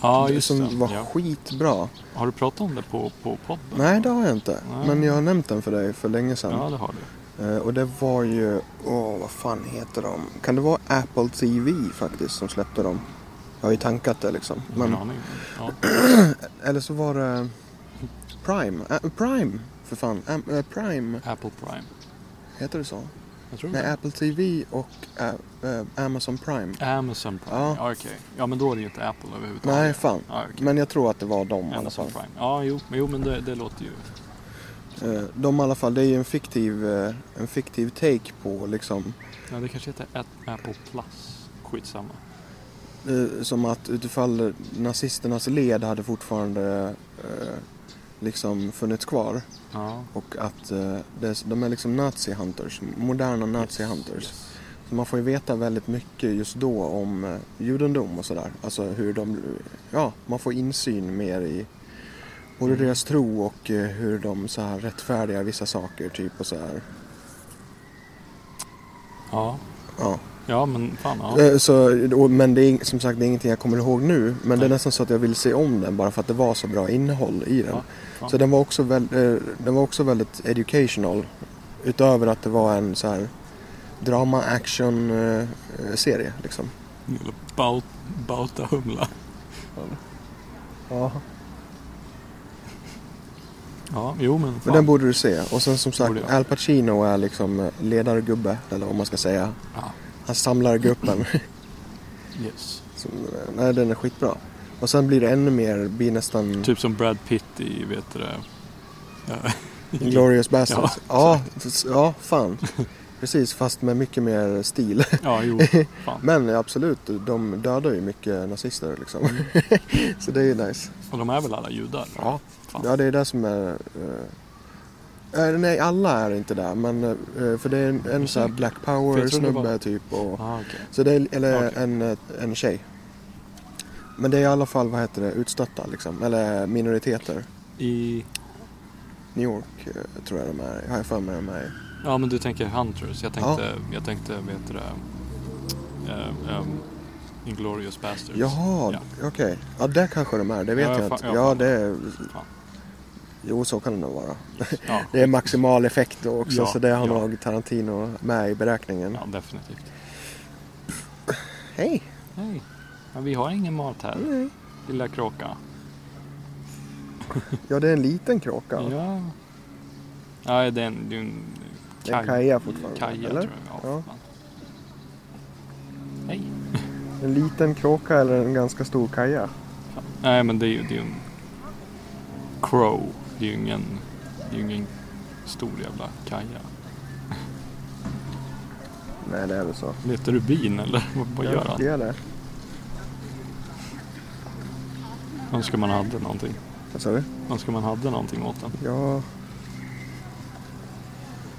ja just som det. var Ja. skitbra. Har du pratat om det på, på podden? Nej, det har jag inte. Nej. Men jag har nämnt den för dig för länge sedan. Ja, det har du. Eh, Och det var ju, åh vad fan heter de? Kan det vara Apple TV faktiskt som släppte dem? Jag har ju tankat det liksom. Ingen Men, aning. Ja. eller så var det Prime. Ä- Prime! För fan. Am- eh, Prime, Apple Prime. heter det så? Jag tror Nej, det. Apple TV och eh, eh, Amazon Prime. Amazon Prime. Ja. Ja, okej. Ja, men då är det ju inte Apple överhuvudtaget. Nej, fan. Ja, okej. Men jag tror att det var dem i alla Amazon fall. Prime. Ja, jo, men- jo men det, det låter ju... Eh, De i alla fall, det är ju en fiktiv, eh, en fiktiv take på liksom Ja, det kanske heter Ä- Apple Plus. Skitsamma. Eh, som att utifall nazisternas led hade fortfarande eh, liksom funnits kvar. Ja. Och att eh, det, de är liksom nazi-hunters, moderna nazi-hunters. Yes. Så man får ju veta väldigt mycket just då om eh, judendom och sådär. Alltså hur de, ja, man får insyn mer i både Mm. deras tro och eh, hur de så här rättfärdigar vissa saker typ och så här. Ja. Ja. ja, men fan. Ja. Eh, Så, och- men det är ing- som sagt det är ingenting jag kommer ihåg nu. Men det är Nej. nästan så att jag vill se om den bara för att det var så bra innehåll i den. Ja, fan. så den var, också väl, eh, den var också väldigt educational. Utöver att det var en så här drama action eh, eh, serie liksom. Eller baut, Bautahumla. Ja. Ja, jo men Men fan. den borde du se. Och sen som sagt Borde jag. Al Pacino är liksom eh, ledargubbe eller vad man ska säga. Ja. Han samlar gruppen. Yes. Så, eh, nej den är skitbra. Och sen blir det ännu mer, blir nästan Typ som Brad Pitt i, vet du det? eh, Glorious Bastards. Ja, s- ja, fan. Precis, fast med mycket mer stil. Ja, jo. Fan. Men absolut, de dödar ju mycket nazister liksom. Mm. Så det är ju nice. Och de är väl alla judar? Ja. Fan. Ja, det är det som är... eh, eh, nej, alla är inte där, men eh, för det är en, en sån här Black Jag trodde det var- Power-snubbe typ och... Ah, okej. Så det är, eller Okej. en, eh, en tjej. Men det är i alla fall, vad heter det, utstötta liksom. Eller minoriteter. I... New York eh, tror jag de är, har jag för mig de är. Ja, men du tänker Hunters. Jag tänkte, jag tänkte vet du det? eh, ehm, Inglourious Basterds. Jaha, Ja. okej. Ja, där kanske de är, det vet Ja, jag jag fa- inte. jag Ja, fattar. det är... Fan. Jo, så kan det nog vara. Ja. Det är maximal effekt då också, Ja, så det har ja. nog Tarantino med i beräkningen. ja, definitivt. Hej! Nej, men vi har ingen mat här. Nej. Lilla kråka. Ja, det är en liten kråka. Ja. Ja, det är en... Det är en Det är en kaja fortfarande, Kaja, eller? tror jag. Ja, Ja. fan. Nej. En liten kråka eller en ganska stor kaja. Nej, men det är ju det är ju en crow. Det är ju ingen, det är ju ingen stor jävla kaja. Nej, det är väl så. Letar du bin eller vad, vad gör Det han? är det. Önskar man hade någonting. Vad sa du? Önskar man hade någonting åt den. Ja...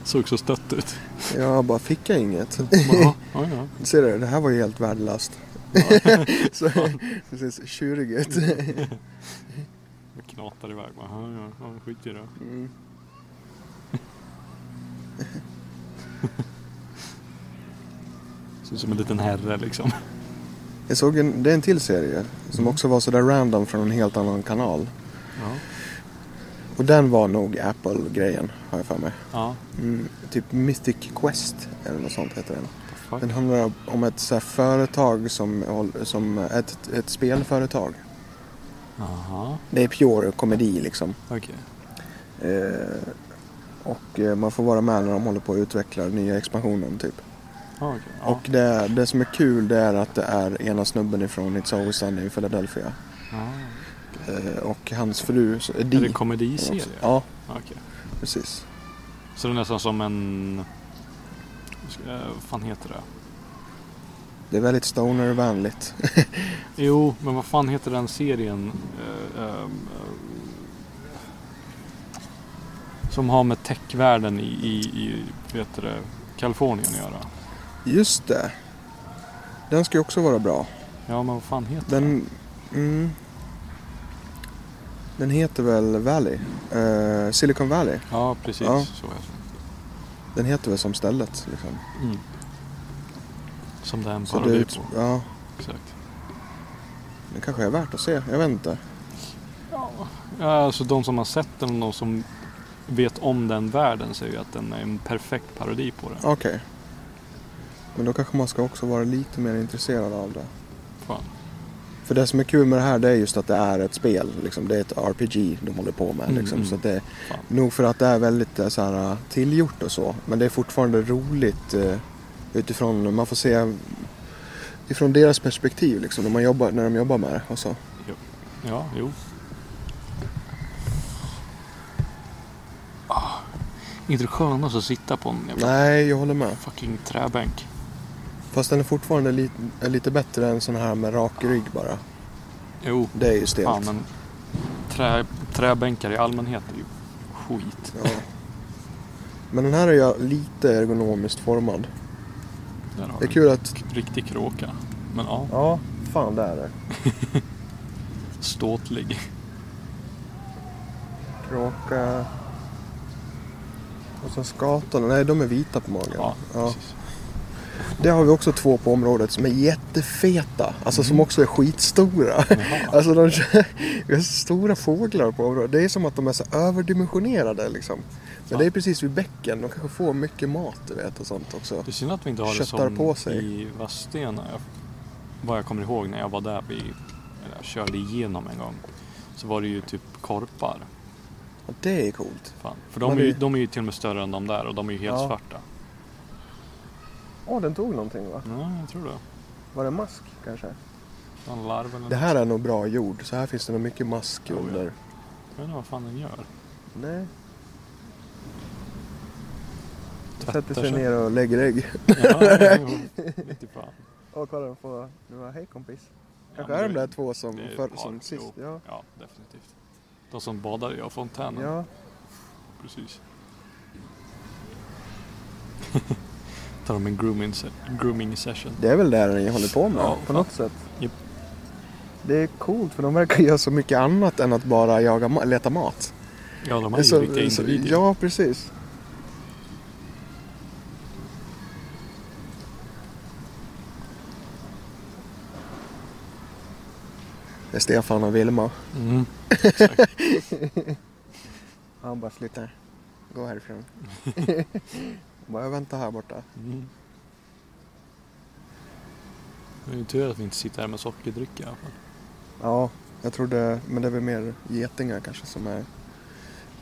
Såg så stött ut. Jag bara, fick jag inget? Jaha, ja, ja. Ser du, det här var ju helt värdelöst. så det ser så tjurig ut. Jag knatar iväg bara. Ja, ja, ja, skit i det. Mm. Ser ut som en liten herre liksom. Jag såg en, det är en till serie som Mm. också var sådär random från en helt annan kanal. Ja. Och den var nog Apple-grejen har jag för mig. ja. Mm, typ Mystic Quest eller något sånt heter den. the fuck. Den handlar om ett så här företag som, håll- som ett, ett spelföretag. Jaha, Det är pure komedi liksom. okej. Eh, och eh, man får vara med när de håller på att utveckla den nya expansionen typ. Ja, okej. Ja. Och det, det som är kul det är att det är ena snubben ifrån It's Always Sunny i Philadelphia. ja. Eh, och hans fru så- Är det Dee. en komediserie? Ja, Ja, okej. precis. Så det är nästan som en... vad ska- eh, Vad fan heter det? Det är väldigt stoner-vänligt. Jo, men vad fan heter den serien? Eh, ehm, eh, som har med techvärlden i, i, i vad heter det, Kalifornien att göra. Just det. Den ska ju också vara bra. Ja, men vad fan heter den? Den... Mm, den heter väl Valley? Eh, Silicon Valley. Ja, precis. Ja. Så heter den. Den heter väl som stället liksom. Mm. Som det är en Så det, parodi ut- på. ja, Exakt. det kanske är värt att se. Jag vet inte. Ja, alltså de som har sett den och de som vet om den världen säger ju att den är en perfekt parodi på den. Okej. Men då kanske man ska också vara lite mer intresserad av det. Fan. För det som är kul med det här det är just att det är ett spel. Liksom. Det är ett RPG de håller på med. Mm, Liksom. mm. Så att det, Fan. nog för att det är väldigt eh, så här, eh, tillgjort och så. Men det är fortfarande roligt eh, utifrån, man får se ifrån deras perspektiv liksom, när, man jobbar, när de jobbar med det och så. Ja, jo. Ah, Inte det skönast att sitta på en jävla Nej, jag håller med. fucking träbänk. Fast den är fortfarande lite, är lite bättre än sån här med rak rygg bara. Jo, Det är ju stelt. fan men trä, träbänkar i allmänhet är ju skit. Ja. Men den här är ju lite ergonomiskt formad. Där har Det är du kul att... en Riktig kråka. Men ja, Ja, fan det är det. ståtlig. Kråka. Och sen skatorna. Nej, de är vita på magen. Ja, Ja. precis. Det har vi också två på området som är jättefeta. Alltså som också är skitstora. Jaha. Alltså de vi har stora fåglar på området. Det är som att de är så överdimensionerade liksom. Men Ja. det är precis vid bäcken. De kanske får mycket mat du vet och sånt också. Det är synd att vi inte har det Köttar som på sig. i Vadstena. Jag, vad jag kommer ihåg när jag var där, vi, eller jag körde igenom en gång. Så var det ju typ korpar. Ja, det är coolt. Fan. För de Men är, ju, det- de är ju till och med större än de där och de är ju helt Ja. svarta. Åh, den tog någonting va? Ja, jag tror det. Var det mask kanske? En larv eller Det här är nog bra jord. Så här finns det nog mycket mask Oh, ja. under. Jag vet inte vad fan den gör. Nej. Tvättar Sätter sig sig. ner och lägger ägg. Ja, jo, mitt i fan. Och kolla, de får... Du var hej kompis. Ja, Kanske men är de det- där två som, det är för, ett par, som sist. jo. Ja. Ja, definitivt. De som badar i fontänen. ja. Precis. Tar de en grooming, se- grooming session. Det är väl det ni håller på med Ja, på fan. något sätt. Japp. Det är coolt för de verkar göra så mycket annat än att bara jaga, ma- leta mat. Ja, de Det har är ju så- riktiga så- individer. Ja, precis. Det är Stefan och Vilma. Mm. Exakt. Han bara sluta. Gå härifrån. bara jag väntar här borta. Mm. Det är ju tur att vi inte sitter här med sockerdricka i alla fall. Ja, jag trodde, men det är väl mer getingar kanske som är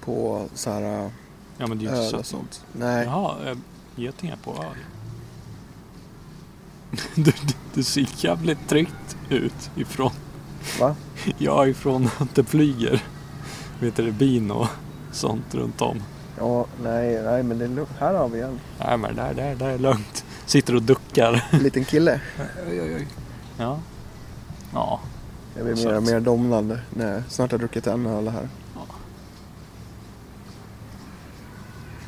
på så här eh, Ja, men det är ju öl inte och sött. sånt. Nej. Jaha, eh, getingar på öl. Du, du, du ser jävligt tryggt ut ifrån. Va? Ja, ifrån att det flyger. Vet du, bin och sånt runt om. Ja, nej, nej, men det är lugnt. Här har vi en Nej men där, där, där är lugnt. Sitter och duckar. liten kille. Ja. Ja. Jag blir mer och mer domnande. Nej, snart har jag druckit en öl här.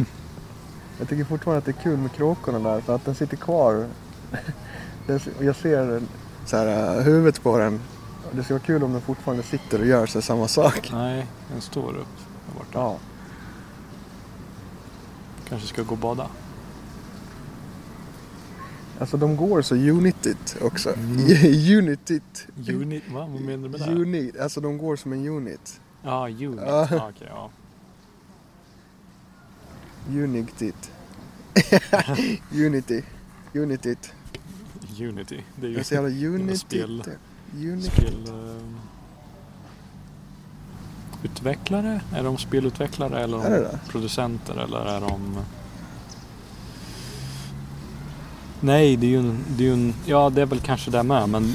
Jag tycker fortfarande att det är kul med kråkorna där för att den sitter kvar. Den- Jag ser så här, eh, huvudet på den. Det skulle vara kul om den fortfarande sitter och gör så här samma sak. Nej, den står upp där borta. Ja. Kanske ska gå och bada. Alltså de går så unitigt också. unitigt. Unit, va? Vad Mm. menar du med det? Unit. Alltså de går som en unit. Ja, unit. Ja. Ja, okej, ja. Unigtit. Unity. Unitit. Unity. Det är Jag är ju så jävla unitit. spel. Unity. spel... ehm, Utvecklare? Är de spelutvecklare eller Är det det? producenter eller är de... Nej, det är ju en, det är ju en... Ja, det är väl kanske det med, men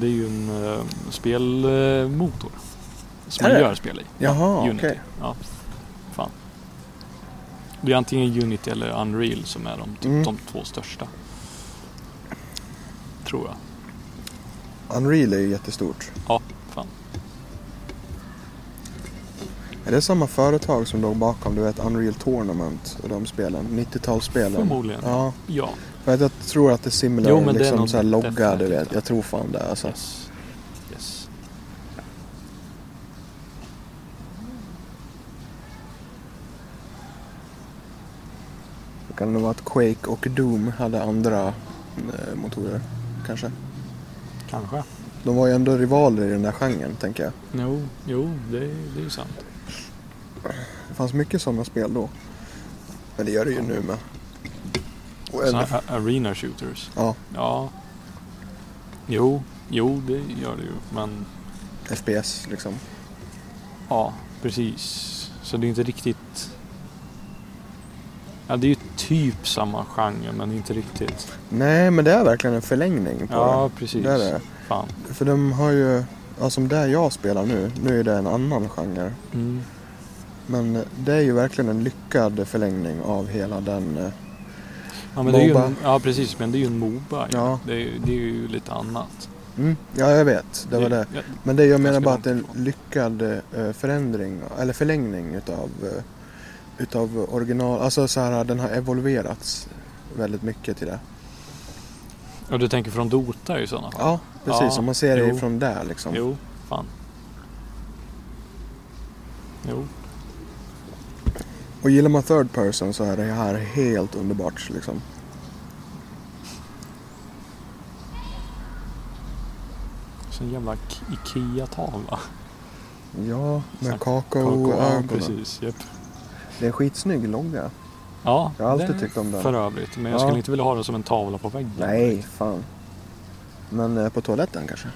det är ju en eh, spelmotor. Som Är man det? gör spel i. Jaha, okej. Unity. Ja. Fan. Det är antingen Unity eller Unreal som är de, typ, Mm. de två största. Tror jag. Unreal är ju jättestort. Ja, fan. Är det samma företag som låg bakom du vet Unreal Tournament och de spelen? 90-talsspelen? Förmodligen. Ja, Ja. för att jag tror att det är similar Jo, men det är liksom nog så här logga du definitivt vet. det. Jag tror fan det alltså. Yes. Yes. Det kan nog vara att Quake och Doom hade andra eh, motorer kanske. Kanske. De var ju ändå rivaler i den där genren tänker jag. Jo, jo det, är- det är ju sant. Det fanns mycket sådana spel då. Men det gör det ju nu med. Och Såna även, här arena shooters. ja, Ja. Jo, jo det gör det ju. Men FPS liksom. ja, precis. Så det är inte riktigt... Ja, det är ju typ samma genre men inte riktigt. Nej, men det är verkligen en förlängning på Ja, det. precis. Det är det. Fan. För de har ju, ja, som där jag spelar nu, nu är det en annan genre. Mm. Men det är ju verkligen en lyckad förlängning av hela den. eh, Ja, men det är ju en, Moba. ja, precis. Men det är ju en Moba. Ja. Ja, Det, är, ju- det är ju lite annat. mm, ja jag vet. Det var det. Ja, Men det jag menar Ganska bara att det är långt en lyckad eh, förändring, eller förlängning utav, eh, utav original, alltså så här, den har evolverats väldigt mycket till det. Och du tänker från Dota i sådana fall? Ja, precis. Ja, Om man ser det jo. från där liksom. Jo, fan. Jo. Och gillar man third person så är det här helt underbart liksom. Så en jävla K- Ikea-tavla. Ja, med ja, kakao-ögonen. precis. Japp. Det är en skitsnygg logga. Ja, Jag har alltid det- tyckt om den. För övrigt, men jag Ja. skulle inte vilja ha den som en tavla på väggen. Nej, fan. Men eh, på toaletten kanske?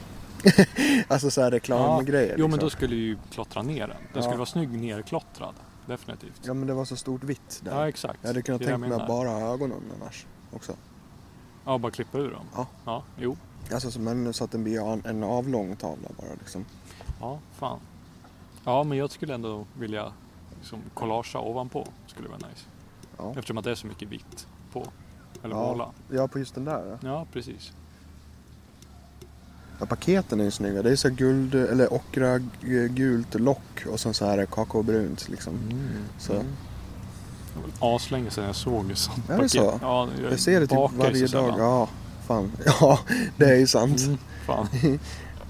alltså så här reklamgrejer. Jo, men då liksom. skulle du ju klottra ner den. Den Ja. skulle vara snygg nerklottrad. Definitivt. Ja, men det var så stort vitt där. Ja, exakt. jag hade kunnat Det är det tänka jag mig menar. bara ögonen annars också. Ja, bara klippa ur dem. Ja. Ja, jo. Alltså så, men så att den blir an- en avlång tavla bara liksom. Ja, fan. Ja, men jag skulle ändå vilja liksom kollagea ovanpå. Skulle vara nice. Ja. Eftersom att det är så mycket vitt på. Eller Ja. måla. ja, på just den där. ja. Ja, precis. Ja, paketen är ju snygga. Det är så här guld eller ockra g- gult lock och sen så här kakaobrunt liksom. Mm. Så. Det var väl aslänge sedan jag såg ett sånt Är det så? Ja, jag, Jag ser det typ bakar ju varje så dag. sällan. Ja, fan. Ja, det är ju sant. Mm, fan.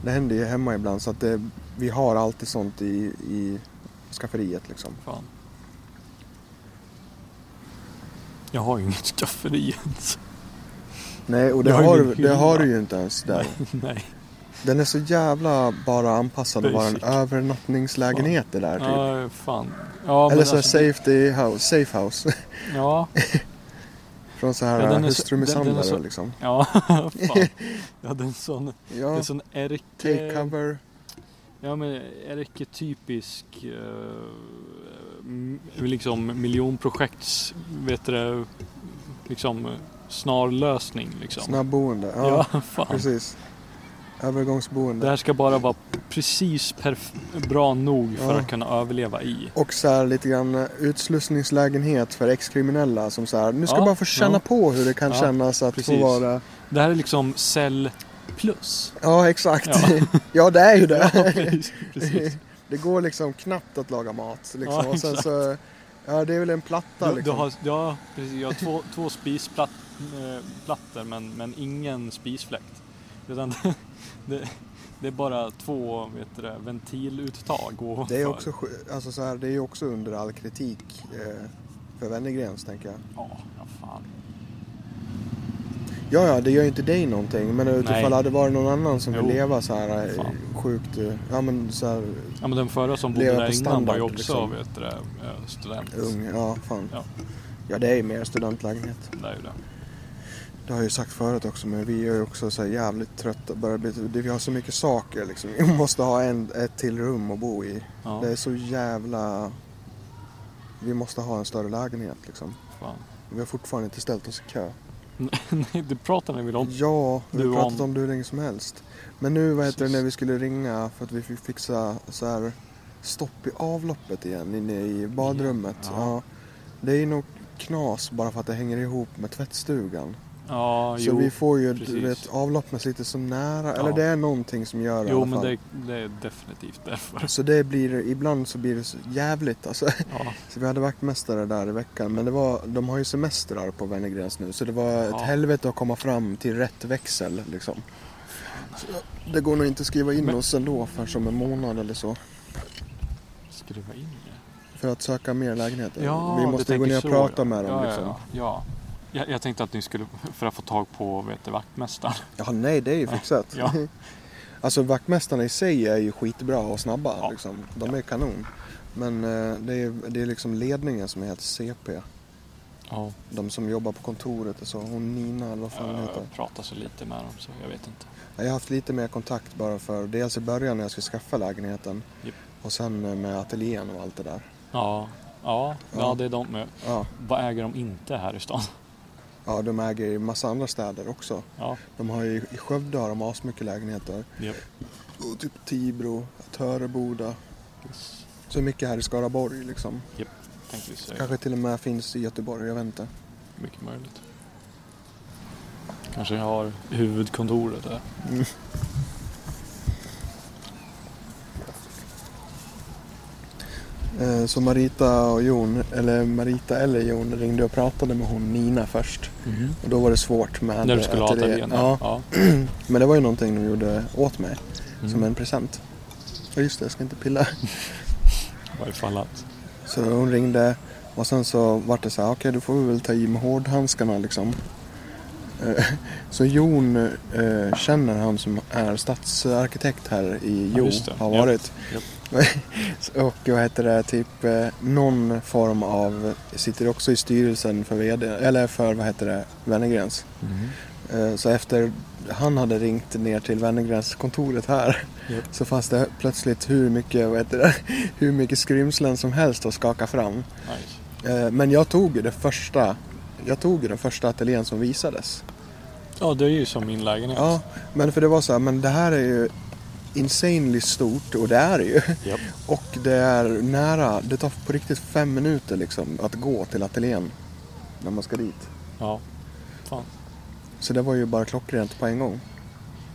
Det händer ju hemma ibland så att det, vi har alltid sånt i, i skafferiet liksom. fan. Jag har ju inget skafferi ens. Nej, och det Jag har ju har, min du- det hylla. har du ju inte ens där. Nej. Den är så jävla bara anpassad att vara en Basic. övernattningslägenhet det där typ. Ja, fan. Ja, Eller men så här alltså, safety house, safe house. Ja, Från så här Ja, den är så- den- hustrumisshandlare den är så- liksom. ja, fan. Jag hade en sån, Ja, en sån take ärke... cover. Ja, men ärketypisk... eh, m- liksom miljonprojekts... Vet du det? Liksom snarlösning liksom. Snabbboende. Ja, Ja, fan. precis. Det Övergångsboende. här ska bara vara precis perf- bra nog för Ja. att kunna överleva i. Och så här lite grann utslussningslägenhet för ex-kriminella som så här, nu ska Ja, bara få känna ja. på hur det kan Ja, kännas att få precis. vara... Det här är liksom cell plus. Ja, exakt. Ja, Ja. det är ju det. precis, precis. det går liksom knappt att laga mat liksom. Ja, och sen så Ja, det är väl en platta Du, du liksom. har, ja, precis. Jag har två, två spisplattor men, men ingen spisfläkt. Utan det, det är bara två vet du, det, ventiluttag ovanför. Det är också, sj- alltså så här, det är ju också under all kritik eh, för Wennergrens tänker jag. Ja, ja fan. Ja, ja, det gör ju inte dig någonting. Men Nej. utifall det hade varit någon annan som vill Jo. leva så här eh, Fan. sjukt, eh, ja men så här Ja, men den förra som bodde Leva där på innan var ju standard, också liksom. vet du, det, eh, student. ung, ja fan. Ja. Ja, det är ju mer studentlägenhet. Det är ju det. Det har jag ju sagt förut också, men vi är ju också så här jävligt trötta. Börjar bli, det- vi har så mycket saker liksom. Vi måste ha en, ett till rum att bo i. Ja, Det är så jävla... Vi måste ha en större lägenhet liksom. fan. Vi har fortfarande inte ställt oss i kö. Nej, det pratar ni väl om? Ja, vi Du har pratat om- om det hur länge som helst. Men nu, vad heter det, Precis. när vi skulle ringa för att vi fick fixa så här stopp i avloppet igen inne i badrummet. Ja. Ja. Det är ju nog knas bara för att det hänger ihop med tvättstugan. Ja, så jo. vi får ju precis. du vet, avloppet lite så nära, Ja. eller det är någonting som gör det i jo, alla men fall. det, det är definitivt därför. Så det blir, ibland så blir det så jävligt alltså. Ja, Så vi hade vaktmästare där i veckan, men det var, de har ju semestrar på Wennergrens nu så det var Ja. ett helvete att komma fram till rätt växel liksom. Så det går nog inte att skriva in Men- oss ändå för som en månad eller så. skriva in det. För att söka mer lägenheter. Ja, vi du måste gå tänker ner och så, prata ja. med dem ja, liksom. Ja, ja. Jag, jag tänkte att ni skulle, för att få tag på vet du, vaktmästaren. Ja, nej det är ju fixat. Ja. Alltså vaktmästarna i sig är ju skitbra och snabba Ja. liksom. De är kanon. Men eh, det är, det är liksom ledningen som heter CP. Ja, De som jobbar på kontoret och så. Hon Nina eller vad fan hon heter. jag pratar så Eh, lite med dem så jag vet inte. Jag har haft lite mer kontakt bara för dels i början när jag skulle skaffa lägenheten Japp. och sen med ateljén och allt det där. Ja, ja, ja. Ja. det är de. med. Ja, Vad äger de inte här i stan? ja de äger ju massa andra städer också. Ja, De har ju, I Skövde har de asmycket lägenheter. japp. Och typ Tibro, Töreboda. Så mycket här i Skaraborg liksom. tänkte vi säga. Kanske till och med finns i Göteborg, jag vet inte. Mycket möjligt. Kanske jag har huvudkontoret där. Mm. Eh, Så Marita och Jon, eller Marita eller Jon ringde och pratade med hon Nina först. Och då var det svårt med När du skulle ha ateljé. ateljén? Mhm. Ja, ja. Men det var ju någonting de gjorde åt mig Mm. som en present. Ja just det, jag ska inte pilla. I varje fall att... Så hon ringde och sen så vart det så här, okej då får vi väl ta i med hårdhandskarna liksom. Eh, Så Jon eh, känner han som är stadsarkitekt här i Ja, Jo, just det. har Ja. varit. och vad heter det, typ eh, någon form av, sitter också i styrelsen för VD, eller för vad heter det, Wennergrens. Eh, Så efter han hade ringt ner till Wennergrens kontoret här Japp. så fanns det plötsligt hur mycket, vad heter det, hur mycket skrymslen som helst att skaka fram. Nice. Eh, Men jag tog ju det första jag tog ju den första ateljén som visades. Ja, det är ju som min lägenhet. Ja, men för det var så här, men det här är ju insanely stort och det är det ju. Japp. Och det är nära, det tar på riktigt fem minuter liksom att gå till ateljén när man ska dit. Ja. Så det var ju bara klockrent på en gång.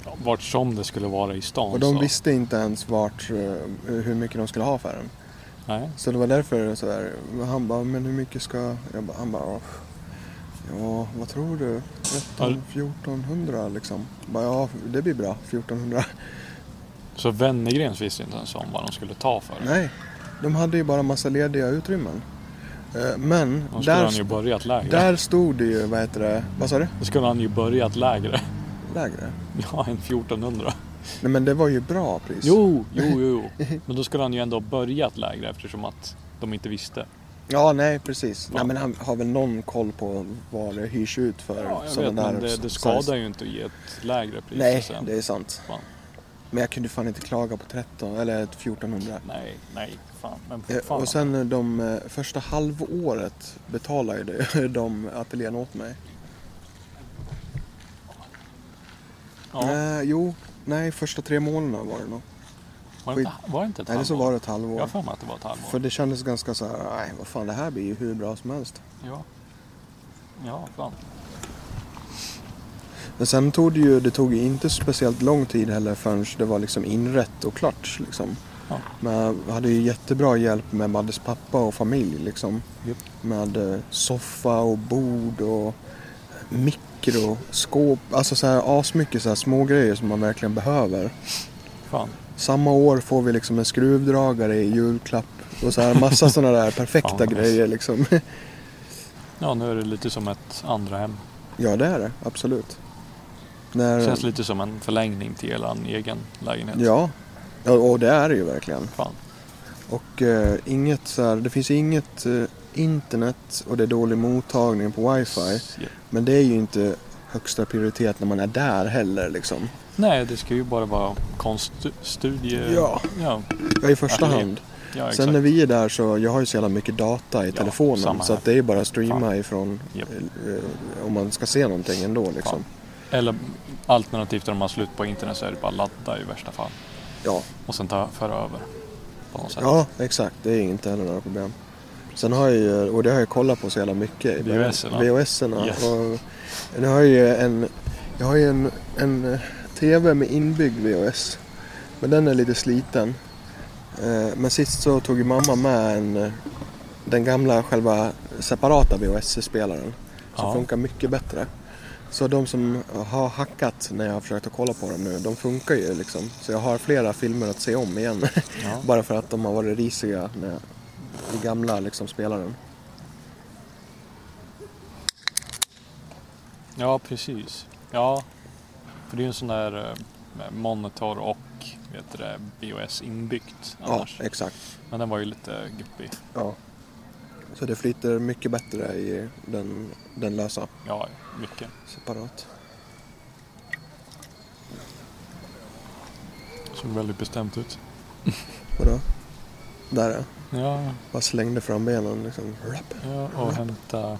Ja, Vart som det skulle vara i stan Och de så. visste inte ens vart, eh, hur mycket de skulle ha för den. Nej. Så det var därför så här, han bara, men hur mycket ska... Jag bara, han bara, "Åh, ja vad tror du? 13, 1400 liksom. Jag Bara, ja det blir bra, 1400. Så Wennergrens visste inte ens om vad de skulle ta för det. Nej, de hade ju bara massa lediga utrymmen. Eh, Men De skulle han ju där, börjat lägre. där stod det ju, vad heter det, vad sa du? Då skulle han ju börjat lägre. Lägre? Ja, en 1400. Nej men det var ju bra pris. Jo, jo, jo. Men då skulle han ju ändå ha börjat lägre eftersom att de inte visste. Ja, nej precis. Ja. Nej men han har väl någon koll på vad det hyrs ut Ja, för. jag vet, sådana men där det, det size. skadar ju inte att ge ett lägre pris. Nej, sen. det är sant. Fan. Men jag kunde fan inte klaga på 13 eller 1400. Nej, nej, fan. Men Eh, fan. och sen eh, de eh, första halvåret betalade de, de ateljén åt mig. ja. Nej, Eh, jo, nej första tre månaderna var det nog. var, det, inte- var det inte ett Eller så halvår? var det ett halvår. Jag har för mig att det var ett halvår. För det kändes ganska så här, nej vad fan det här blir ju hur bra som helst. Ja. ja, fan. Men sen tog det ju, det tog ju inte speciellt lång tid heller förrän det var liksom inrätt och klart liksom. Ja. Men jag hade ju jättebra hjälp med Maddes pappa och familj liksom. Japp. Med eh, soffa och bord och mikro, skåp. Alltså så här asmycket så här små grejer som man verkligen behöver. Fan. Samma år får vi liksom en skruvdragare i julklapp. Och så här massa sådana där perfekta Fan, nice. grejer liksom. Ja, nu är det lite som ett andra hem. ja det är det, absolut. När, Det känns lite som en förlängning till er egen lägenhet. Ja, Ja, och det är det ju verkligen. Fan. Och eh, inget så här, det finns ju inget eh, internet och det är dålig mottagning på wifi. Ja. Men det är ju inte högsta prioritet när man är där heller liksom. Nej, det ska ju bara vara konststudie. Ja. Eh, ja. Ja, i första Ateljé. hand. Ja, exakt. Sen när vi är där så, jag har ju så jävla mycket data i Ja, samma telefonen. Så här. att det är ju bara att streama Fan. ifrån Japp. eh, om man ska se någonting ändå liksom. Eller alternativt om man har slut på internet så är det bara ladda i värsta fall. Ja, Och sen ta, föra över. På något sätt. ja exakt. Det är inte heller några problem. Sen har jag ju, och det har jag kollat på så jävla mycket. i början. VHS-erna. VHS-erna. Yes. Och nu har jag ju en, jag har ju en, en eh, TV med inbyggd VHS. Men den är lite sliten. Eh, Men sist så tog ju mamma med en, eh, den gamla själva separata VHS-spelaren. Som Ja. funkar mycket bättre. Så de som har hackat när jag har försökt att kolla på dem nu, de funkar ju liksom. Så jag har flera filmer att se om igen. Ja. Bara för att de har varit risiga när jag, i gamla liksom, spelaren. ja, precis. Ja, för det är ju en sån där eh, med monitor och vet du det, BOS inbyggt Ja, annars. exakt. Men den var ju lite guppig. Ja. Så det flyter mycket bättre i den, den lösa Ja, mycket. separat. Såg väldigt bestämt ut. Vadå? Där ja. Ja, Bara slängde fram benen liksom. Rapp. ja och hämta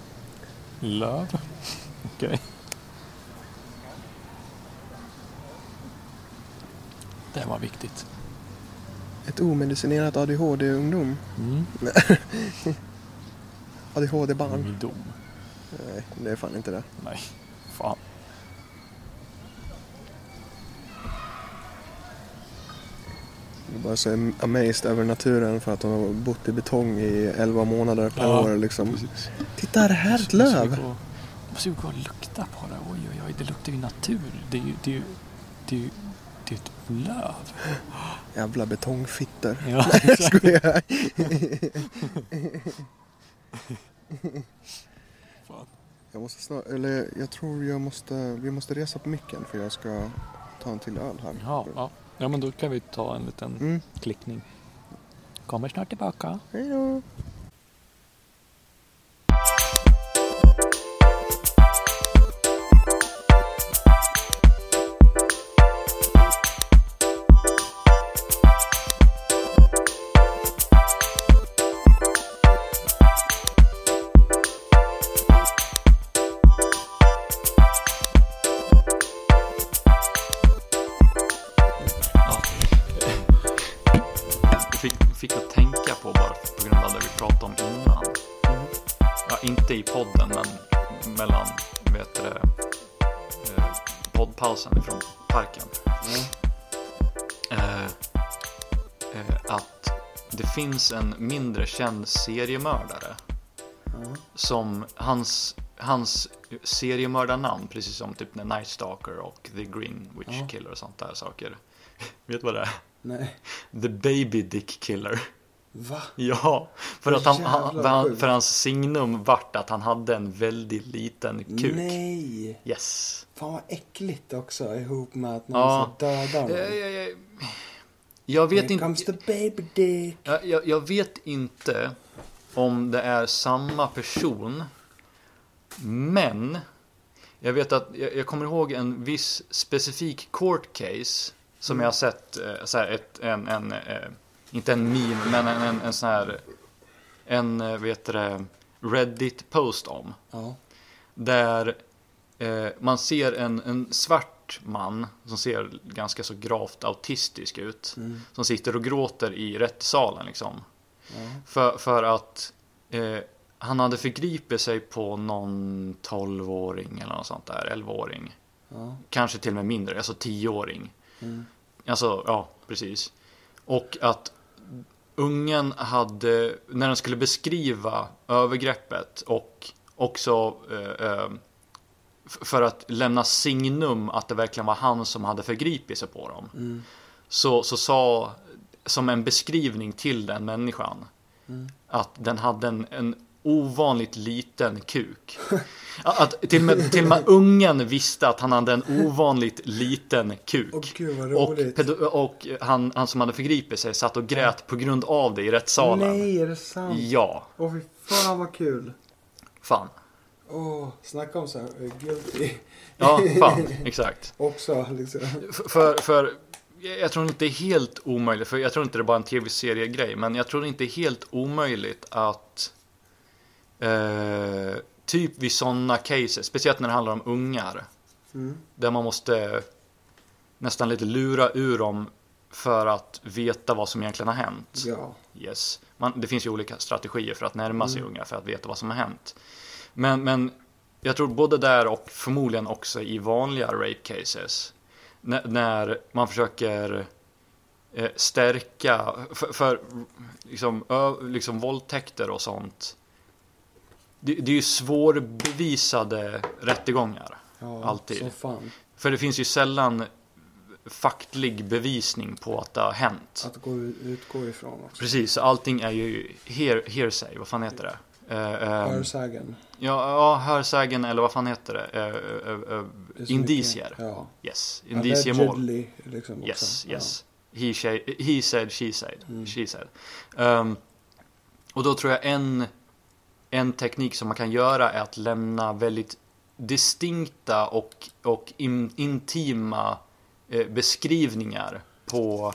löv. Okej. Det var viktigt. Ett omedicinerat ADHD-ungdom. Mm. ADHD-barn. Min dom. Nej, det är fan inte det. Nej, fan. Jag är bara så amazed över naturen för att de har bott i betong i 11 månader per Ja, år liksom. Precis. Titta, det här är ett löv! Måste ju gå och lukta på det. Oj, oj, oj. Det luktar ju natur. Det är ju... Det är ju, det är ju det är ett löv. Jävla betongfitter. Ja, Jag skojar. Fan. Jag måste snart, eller jag tror jag måste, vi måste resa på micken för jag ska ta en till öl här. ja, ja. ja, men då kan vi ta en liten Mm. klickning. Kommer snart tillbaka. Hej då! fick, fick att tänka på bara på grund av det vi pratade om innan. Ja, inte i podden, men mellan vet du, det, eh, poddpausen från parken. Eh, eh, att det finns en mindre känd seriemördare. Som hans, hans seriemördarnamn, precis som typ The Night Stalker och The Green Witch Killer och sånt där saker. Vet du vad det är? Nej. The Baby Dick Killer. Va? Ja, för, att han, han, jävla för, han, sjukt. för hans signum vart att han hade en väldigt liten kuk. Nej! Yes. Fan vad äckligt också ihop med att Ja. någon ska döda Jag, någon. jag, jag, jag, vet Here comes the inte, baby dick. jag, jag, jag vet inte om det är samma person. Men jag vet att jag, jag kommer ihåg en viss specifik court case som jag har sett, eh, så här ett, en, en eh, inte en meme, men en, en, en sån här, en, eh, vet du det, Reddit-post om. Ja. Där eh, man ser en, en svart man som ser ganska så gravt autistisk ut. Mm. Som sitter och gråter i rättssalen liksom. För, för att eh, han hade förgripit sig på någon 12-åring eller något sånt där, 11-åring. Ja. Kanske till och med mindre, alltså 10-åring. Alltså, ja, precis. Och att ungen hade, när den skulle beskriva övergreppet och också eh, eh, f- för att lämna signum att det verkligen var han som hade förgripit sig på dem. Mm. Så, så sa, som en beskrivning till den människan, Mm. att den hade en, en ovanligt liten kuk. Att till och, med, till och med ungen visste att han hade en ovanligt liten kuk. Åh, gud, vad och roligt. pedo- och han, han som hade förgripit sig satt och grät på grund av det i rättssalen. Nej, är det sant? Ja, Åh fy fan vad kul. fan. Åh, snacka om så här eh, guilty. Ja, fan, exakt. Också liksom. F- För, för jag tror inte det är helt omöjligt, för jag tror inte det är bara en tv-serie-grej, men jag tror inte det är helt omöjligt att eh, typ vid sådana cases, speciellt när det handlar om ungar, Mm. där man måste nästan lite lura ur dem för att veta vad som egentligen har hänt. Ja. Yes. Man, det finns ju olika strategier för att närma Mm. sig unga för att veta vad som har hänt. Men, men jag tror både där och förmodligen också i vanliga rape cases. När, när man försöker eh, stärka, för, för liksom, ö, liksom våldtäkter och sånt. Det, det är ju svårbevisade rättegångar. ja Alltid. Som fan. För det finns ju sällan faktlig bevisning på att det har hänt. Att gå, ut- utgå ifrån också. Precis, så allting är ju hear, hearsay, vad fan heter det? Eh, eh, Hörsägen. ja, ja, hörsägen eller vad fan heter det? Eh, eh, eh, Det är så indicier. mycket- Ja. Yes, indiciemål. Allegedly, liksom också. Yes, Ja. Mm. yes. He, she, he said, she said, she said. Ehm, och då tror jag en, en teknik som man kan göra är att lämna väldigt distinkta och, och in, intima eh, beskrivningar på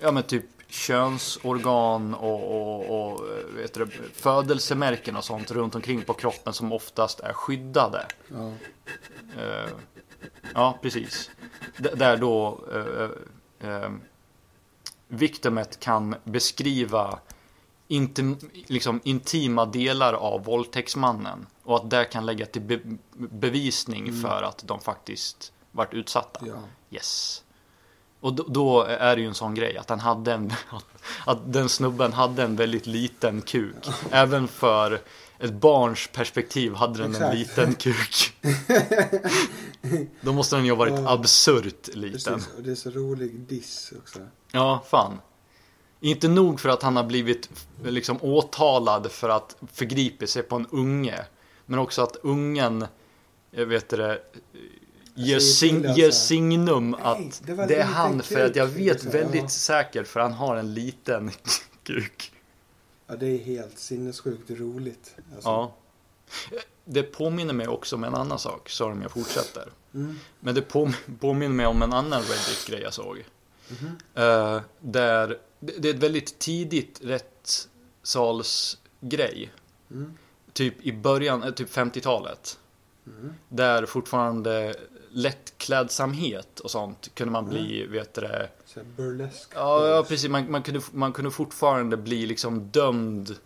ja, men typ könsorgan och, och, och eh, vet du, det, födelsemärken och sånt runt omkring på kroppen som oftast är skyddade. Ja. Eh, ja, precis. D- där då eh, eh, victimet kan beskriva intim, liksom intima delar av våldtäktsmannen och att där kan lägga till be- bevisning för att de faktiskt varit utsatta. Mm. ja. Yes. Och då, då är det ju en sån grej att han hade en, att den snubben hade en väldigt liten kuk. Även för ett barns perspektiv hade den Exakt. en liten kuk. då måste den ju ha varit Ja. absurt liten. Precis. Och det är så rolig diss också. Ja, fan. Inte nog för att han har blivit liksom åtalad för att förgripa sig på en unge. Men också att ungen, jag vet det, ger, Alltså, det är sig, kul, ger alltså. signum att det det, var är lite han. För att jag kuk, vet liksom. väldigt Ja. säkert för han har en liten kuk. Ja, det är helt sinnessjukt roligt. Alltså. Ja. Det påminner mig också om en annan sak, sorry om jag fortsätter. Mm. Men det påm- påminner mig om en annan Reddit-grej jag såg. Mhm. Eh, där det, det är ett väldigt tidigt rättssalsgrej. Mm. Typ i början, eh, typ 50-talet. Mm. Där fortfarande lättklädsamhet och sånt kunde man bli, vet du det, Så här burlesk. Ja, ja precis. Man, man, kunde, man kunde fortfarande bli liksom dömd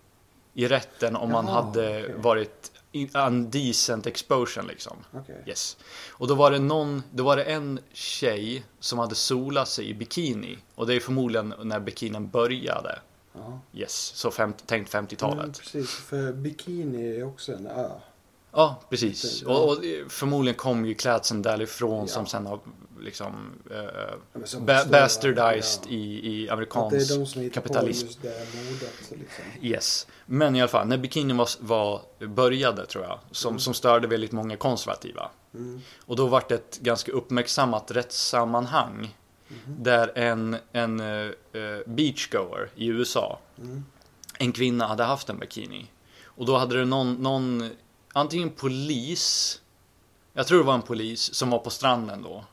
i rätten om man Jaha, hade okej. varit in, undecent exposure liksom. Okej. Yes. Och då var det någon, då var det en tjej som hade solat sig i bikini. Och det är förmodligen när bikinin började. Ja. Yes, så fem, tänkt Men 50-talet. precis, för bikini är också en ö. Ja, precis. Ja. Och, och förmodligen kom ju klädseln därifrån Ja. som sen har liksom eh, Ja, men som ba- också- bastardized ja. i, i Att det amerikansk är de som hittar på kapitalism. just det modet. Liksom. Yes. Men i alla fall, när bikinin var, var, började tror jag, som, som störde väldigt många konservativa. Mm. Och då vart det ett ganska uppmärksammat rättssammanhang. Mm-hmm. Där en, en eh, eh, beachgoer i USA, Mm. en kvinna hade haft en bikini. Och då hade det någon, någon antingen polis, jag tror det var en polis som var på stranden då.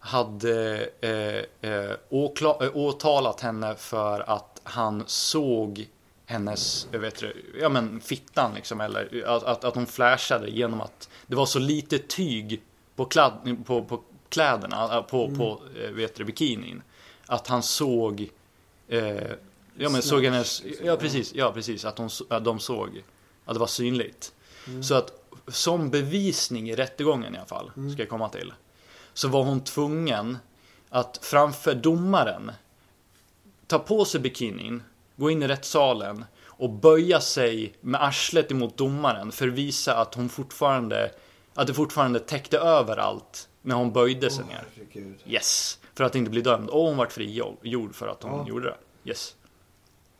Hade eh, eh, åkla- eh, åtalat henne för att han såg hennes, jag vet inte, ja men fittan liksom eller att, att, att hon flashade genom att det var så lite tyg på, kladd, på, på kläderna, eh, på, på eh, vet du, bikinin. Att han såg, eh, ja men Snatch, såg hennes, liksom, ja ja. precis, ja precis, att, hon, så- att de såg, att det var synligt. Så att som bevisning i rättegången i alla fall, ska jag komma till, så var hon tvungen att framför domaren ta på sig bikinin gå in i rättssalen och böja sig med arslet emot domaren för att visa att hon fortfarande, att det fortfarande täckte över allt när hon böjde sig ner. Herregud. Yes! För att inte bli dömd. Och hon vart frigjord för att hon Ja. gjorde det. Yes.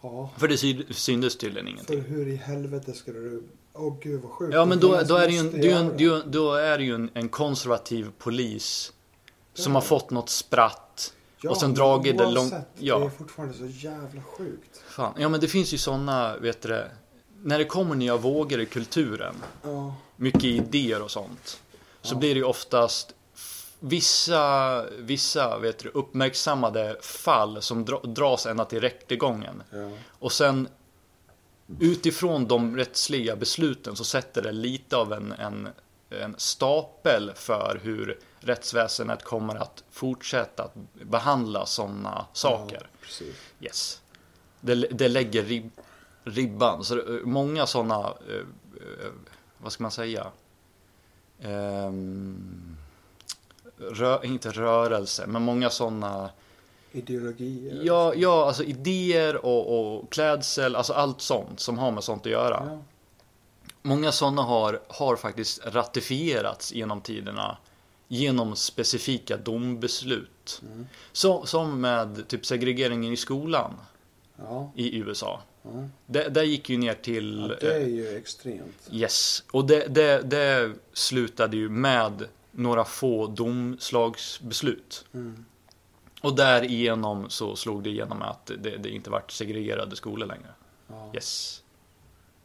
Ja. För det sy- syndes tydligen För ingenting. hur i helvete skulle du... Åh gud vad sjukt. Ja men då, då är det ju, en, Måste det är ju, en, göra det är ju, en- då är det ju en, en konservativ polis som har fått något spratt. Ja, och sen men dragit det långt- oavsett, ja. Det är fortfarande så jävla sjukt. Fan. Ja men det finns ju sådana, vet du det, när det kommer nya vågor i kulturen, Ja. mycket idéer och sånt, så Ja. blir det ju oftast f- vissa, vissa vet du, uppmärksammade fall som dra, dras ända till rättegången. Ja. Och sen utifrån de rättsliga besluten så sätter det lite av en, en, en stapel för hur rättsväsendet kommer att fortsätta att behandla sådana saker. Precis. Yes. Det, det lägger rib, ribban. Så det, många sådana, eh, eh, vad ska man säga? Ehm, rö, inte rörelse, men många sådana, Ideologier. ja, ja alltså idéer och, och klädsel, alltså allt sånt som har med sånt att göra. Ja. Många sådana har, har faktiskt ratifierats genom tiderna genom specifika dombeslut. Mm. Så, som med typ segregeringen i skolan Ja. i USA. ja. Det, det gick ju ner till... ja. Det är ju extremt. eh, Yes. Och det, det, det slutade ju med några få domslagsbeslut. Mm. Och därigenom så slog det igenom att det, det inte vart segregerade skolor längre. Ja. Yes.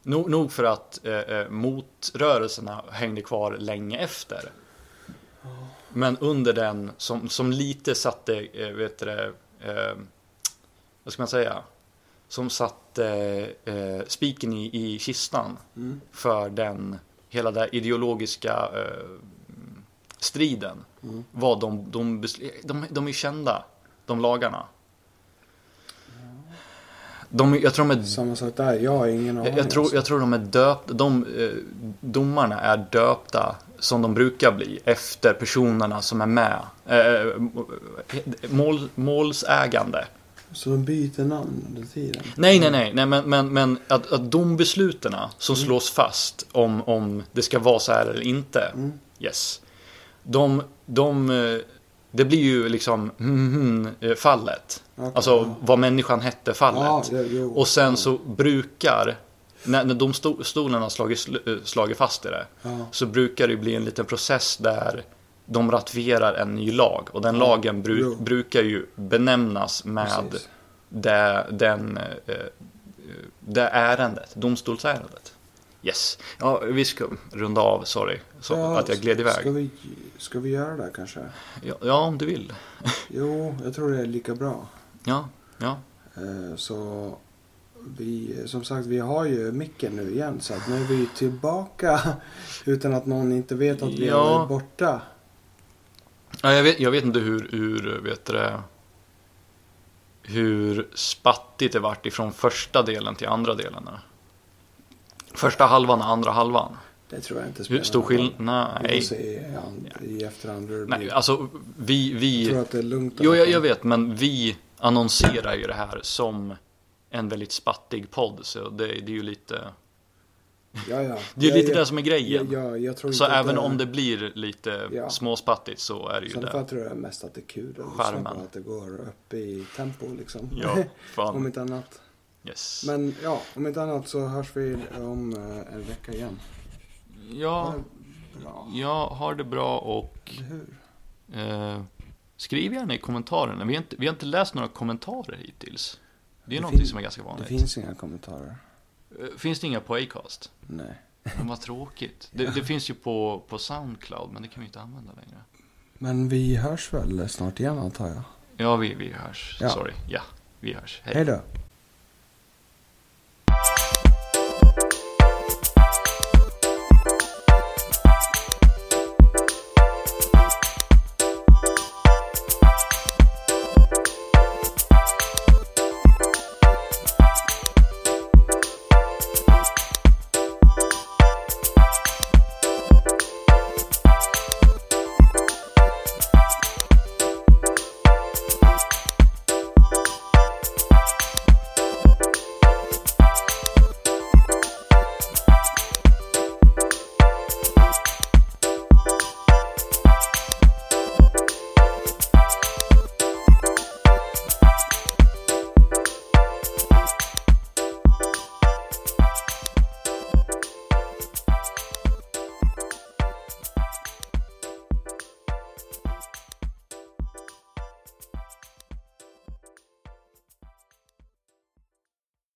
Nog, nog för att eh, eh, motrörelserna hängde kvar länge efter. Men under den som, som lite satte, eh, vet du det, eh, vad ska man säga? Som satte eh, spiken i, i kistan Mm. för den, hela den ideologiska eh, striden. Mm. Var de, de, besl- de, de är kända, de lagarna. De, är- jag tror de är Samma sak där. Jag har ingen aning. jag, jag, tror, alltså. jag tror de är döpta, de eh, domarna är döpta som de brukar bli efter personerna som är med. Eh, mål, målsägande. Så de byter namn under tiden? Nej, nej, nej, nej men, men, men att, att dombeslutena som slås fast om, om det ska vara så här eller inte. Mm. Yes. De, de, eh, det blir ju liksom mhm, eh, fallet. Okej. Alltså vad människan hette fallet. Ja, det, jo. Och sen så brukar, när, när domstolen har slagit, sl- eh, slagit fast i det, Ja. så brukar det bli en liten process där de ratifierar en ny lag. Och den lagen bru, Jo. brukar ju benämnas med Precis. det, den, eh, eh, det ärendet, domstolsärendet. Yes. Ja, vi ska runda av, sorry, så Ja, att jag gled iväg. Ska vi, ska vi göra det kanske? Ja, ja, om du vill. Jo, jag tror det är lika bra. Ja, ja. Eh, Så vi, som sagt, vi har ju micken nu igen så att nu är vi ju tillbaka utan att någon inte vet att vi Ja. har varit borta. ja jag, vet, jag vet inte hur, hur, vet du det, hur spattigt det vart ifrån första delen till andra delen. eller? Första halvan och andra halvan. Det tror jag inte Hur spelar stor någon roll. skillnad? Vi får Nej. se i, hand- i efterhand hur det Nej, blir. alltså vi, Jag vi... tror att det är lugnt. Jo, jag, jag vet, men vi annonserar ju det här som en väldigt spattig podd, så det, det är ju lite... Ja, ja. Det är ju Jag- lite jag- det som är grejen. Ja, ja, jag tror så inte att även det, om det blir lite Ja. småspattigt så är det ju Sen det. jag tror jag mest att det är kul att lyssna Charmen. på att det går upp i tempo liksom. Ja, om fan. inte annat. Yes. Men ja, om inte annat så hörs vi om eh, en vecka igen. Ja, Ha det Bra. jag har det bra och... Eller hur? Eh, skriv gärna i kommentarerna. Vi har, inte, vi har inte läst några kommentarer hittills. Det är Det någonting fin- som är ganska Det vanligt. Finns... finns inga kommentarer. finns det inga på Acast? Nej. Men vad tråkigt. Det, det finns ju på, på Soundcloud, men det kan vi inte använda längre. Men vi hörs väl snart igen antar jag. Ja, vi, vi hörs. Ja. Sorry. Ja, vi hörs. Hej. Hej då.